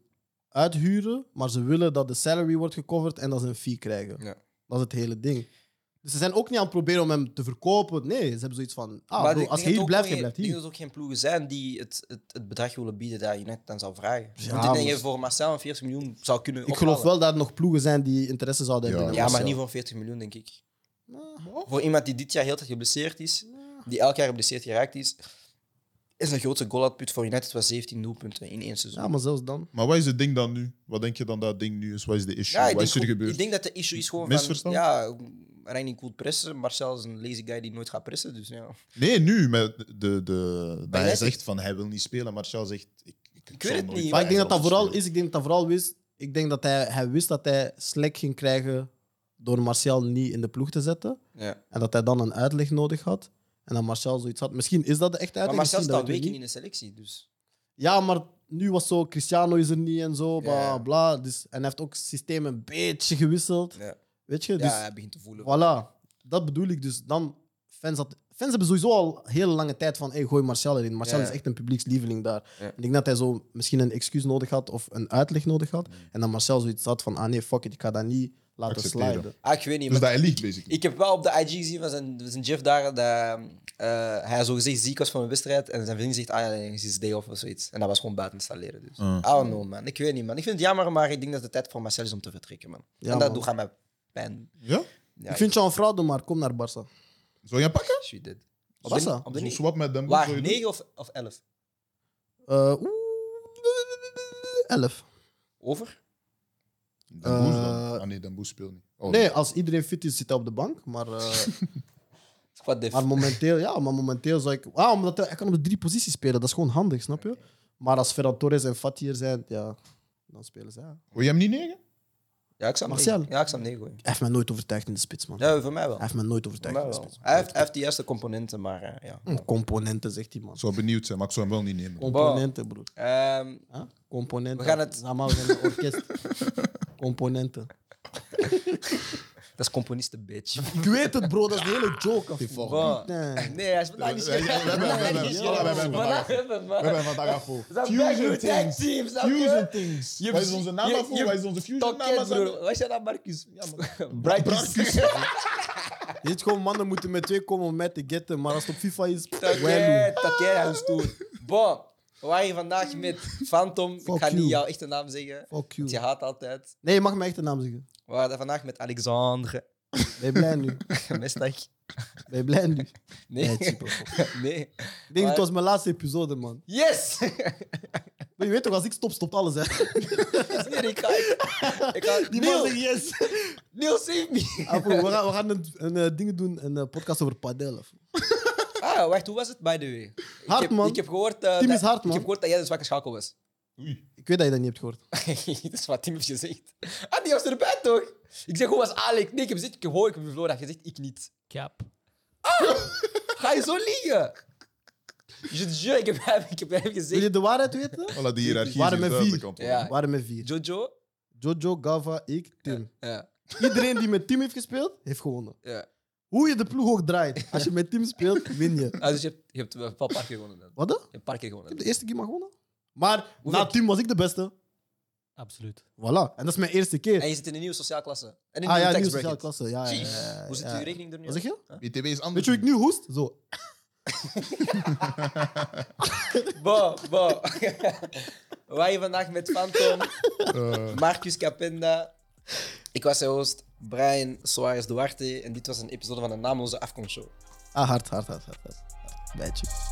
uithuren, maar ze willen dat de salary wordt gecoverd en dat ze een fee krijgen. Ja. Dat is het hele ding. Dus ze zijn ook niet aan het proberen om hem te verkopen. Nee, ze hebben zoiets van, ah, Maar bro, ik denk als je dat hier ook blijft, je geen- blijft Ik denk hier. dat er ook geen ploegen zijn die het, het, het bedrag willen bieden dat je net dan zou vragen. Want ik Ja, denk dat maar- je voor Marcel een 40 miljoen zou kunnen Ik geloof ophalen. wel dat er nog ploegen zijn die interesse zouden Ja. hebben. in Ja, maar Marcel. niet voor 40 miljoen, denk ik. Voor iemand die dit jaar heel tijd geblesseerd is, die elk jaar geblesseerd geraakt is, is een grote goal-output voor United was 17 doelpunten in één seizoen. Ja, maar zelfs dan. Maar wat is het ding dan nu? Wat denk je dan dat het ding nu is? Wat is de issue? Ja, ik wat denk, is er gewoon- gebeurd? ik denk dat de issue is gewoon Misverstand? van... Ja, Reining cool pressen. Marcel is een lazy guy die nooit gaat pressen, dus ja. Nee, nu. Met de, de, dat hij United- zegt van hij wil niet spelen. Martial zegt... Ik, ik, weet het niet, Maar ik denk dat dat vooral is. Ik denk dat dat vooral wist. Ik denk dat hij, hij wist dat hij slack ging krijgen door Martial niet in de ploeg te zetten. ja. En dat hij dan een uitleg nodig had. En dat Martial zoiets had. Misschien is dat de echte Maar uitleg. Marcel misschien, staat dat weten we weken in niet. de selectie, dus... Ja, maar nu was zo, Cristiano is er niet en zo, bla Ja. bla. Dus, en hij heeft ook het systeem een beetje gewisseld. Ja, Weet je? Dus ja hij begint te voelen. voilà. Dat bedoel ik dus. Dan, fans, had, fans hebben sowieso al heel lange tijd van hey, gooi Martial erin. Martial Ja. is echt een publiekslieveling daar. Ja. En ik denk dat hij zo misschien een excuus nodig had of een uitleg nodig had. Mm. En dat Martial zoiets had van ah nee, fuck it, ik ga dat niet laten Accepteren. sliden. Ah, ik weet niet, Dus maar dat hij liegt, basically. ik heb wel op de IG gezien van zijn, van zijn Jeff daar dat eh, hij zogezegd ziek was van een wedstrijd en zijn vriend zegt, ah ja, nee, het is day off of zoiets. En dat was gewoon buiten installeren. Dus. I don't know, man. Ik weet niet, man. Ik vind het jammer, maar ik denk dat het tijd voor Marcel is om te vertrekken, man. Ja, en dat man. doet aan mij pijn. Ja? Ja, ik vind jou een fraude, maar kom naar Barça. Zou je hem pakken? She did. Wat is dat? Op de Zo'n ni- swap met Dembo? zou Waar, je doen? 9 of, of 11? Eh, oeh, 11. Over? Dembo is dan- Eh, Ah nee, Dembo speelt niet. Oh, Nee, als iedereen fit is, zit hij op de bank. Maar, eh, Wat def. maar, momenteel, ja, maar momenteel zou ik. Ah, omdat hij, hij kan op de drie posities spelen, dat is gewoon handig, snap je? Maar als Ferran Torres en Fatih er zijn, ja, dan spelen ze. Ja. Wil je hem niet negen? Ja, ik zou hem Marcel. negen- Ja, ik zou hem 9 gooien. Hij heeft mij nooit overtuigd in de spits, man. Ja, voor mij wel. Hij heeft mij nooit Voor overtuigd mij in de wel. spits. Hij heeft, hij heeft die eerste componenten, maar eh, ja. Mm, Componenten, zegt die man. Ik zou benieuwd zijn, maar ik zou hem wel niet Oh, nemen. Componenten, broer. Ehm, Huh? Componenten. We gaan het- Samen, we zijn een orkest. Componenten. dat is componisten, bitch. Ik weet het, bro. Dat is de hele joke. volgt Wow. Nee. Nee, hij is vandaag niet We hebben- we scherp. hebben- we hebben- Vandaag voilà, we hebben niet vandaag. scherp. Vandaag hebben we- We hebben vandaag afvoer. We zijn back to tag team, snap je? Fusion Things. Je Wat is hebt- onze naam je- daarvoor? je- Wat is onze Fusion Tokket, naam? broer. daarvoor? Wat is jouw naam, Marcus? Ja, man. Brakus. Je weet gewoon, mannen moeten met twee komen om mij te getten. Maar als het op FIFA is, Tokket, Tokket, hij is toe. Bon, we waren hier vandaag met Phantom. Ik Fuck ga niet you. jouw echte naam zeggen, Fuck want je you. haat altijd. Nee, je mag mijn echte naam zeggen. We waren vandaag met Alexandre. Ben je blij nu? Mestag. Ben je blij nu? Nee. Nee, cheapo. Nee. Ik denk, Maar- het was mijn laatste episode, man. Yes! Weet Maar je weet toch, als ik stop, stopt alles. Hè. Nee, ik ga... Ik, ik ga Die man Neil, zegt yes. Neil, save me. Ah, Apo, we gaan, we gaan een, een eh, ding doen, een eh, podcast over padel. of- Ah, wacht, hoe was het, by the way? Ik Hard, heb, man. Ik heb gehoord... eh, Team dat- is hard, Ik man. heb gehoord dat jij de zwakke schakel was. Oei. Ik weet dat je dat niet hebt gehoord. dat is wat Tim heeft gezegd. Ah, die was erbij, toch? Ik zeg, hoe was Alec? Nee, ik heb gezegd, ik hoor, ik heb verloren. Hij heeft gezegd, ik niet. Ah! Cap. Ga je zo liegen? Je, je, ik heb hem, ik heb hem Wil gezegd. je de waarheid weten? Voilà, die hiërarchie Waren is hier met duidelijk vier. aan het Ja. We waren met vier. Jojo? Jojo, Gava, ik, Tim. Ja. Iedereen die met Tim heeft gespeeld, heeft gewonnen. ja. Hoe je de ploeg ook draait, als je met Tim speelt, win je. Ah, dus je hebt, je hebt wel een paar keer gewonnen dan. Je Wat dan? Ik hebt een paar keer heb gewonnen. de eerste keer maar gewonnen. Maar Hoeveel- na Tim was ik de beste. Absoluut. Voilà. En dat is mijn eerste keer. En je zit in een nieuwe sociale klasse. En in een Ah ja, nieuwe nieuwe tax sociale bracket. klasse. Ja, ja, ja, Jeez. ja, Hoe zit ja. uw rekening er nu Wat zeg je? komen. BTW is Weet anders. je hoe ik nu hoest? Zo. Bo, bo. Wij vandaag met Phantom, Marcus Capenda. Ik was zijn host, Brian Soares Duarte. En dit was een episode van de Naamloze Afkomstshow. Ah, hard, hard, hard, hard. hard. Bijtje.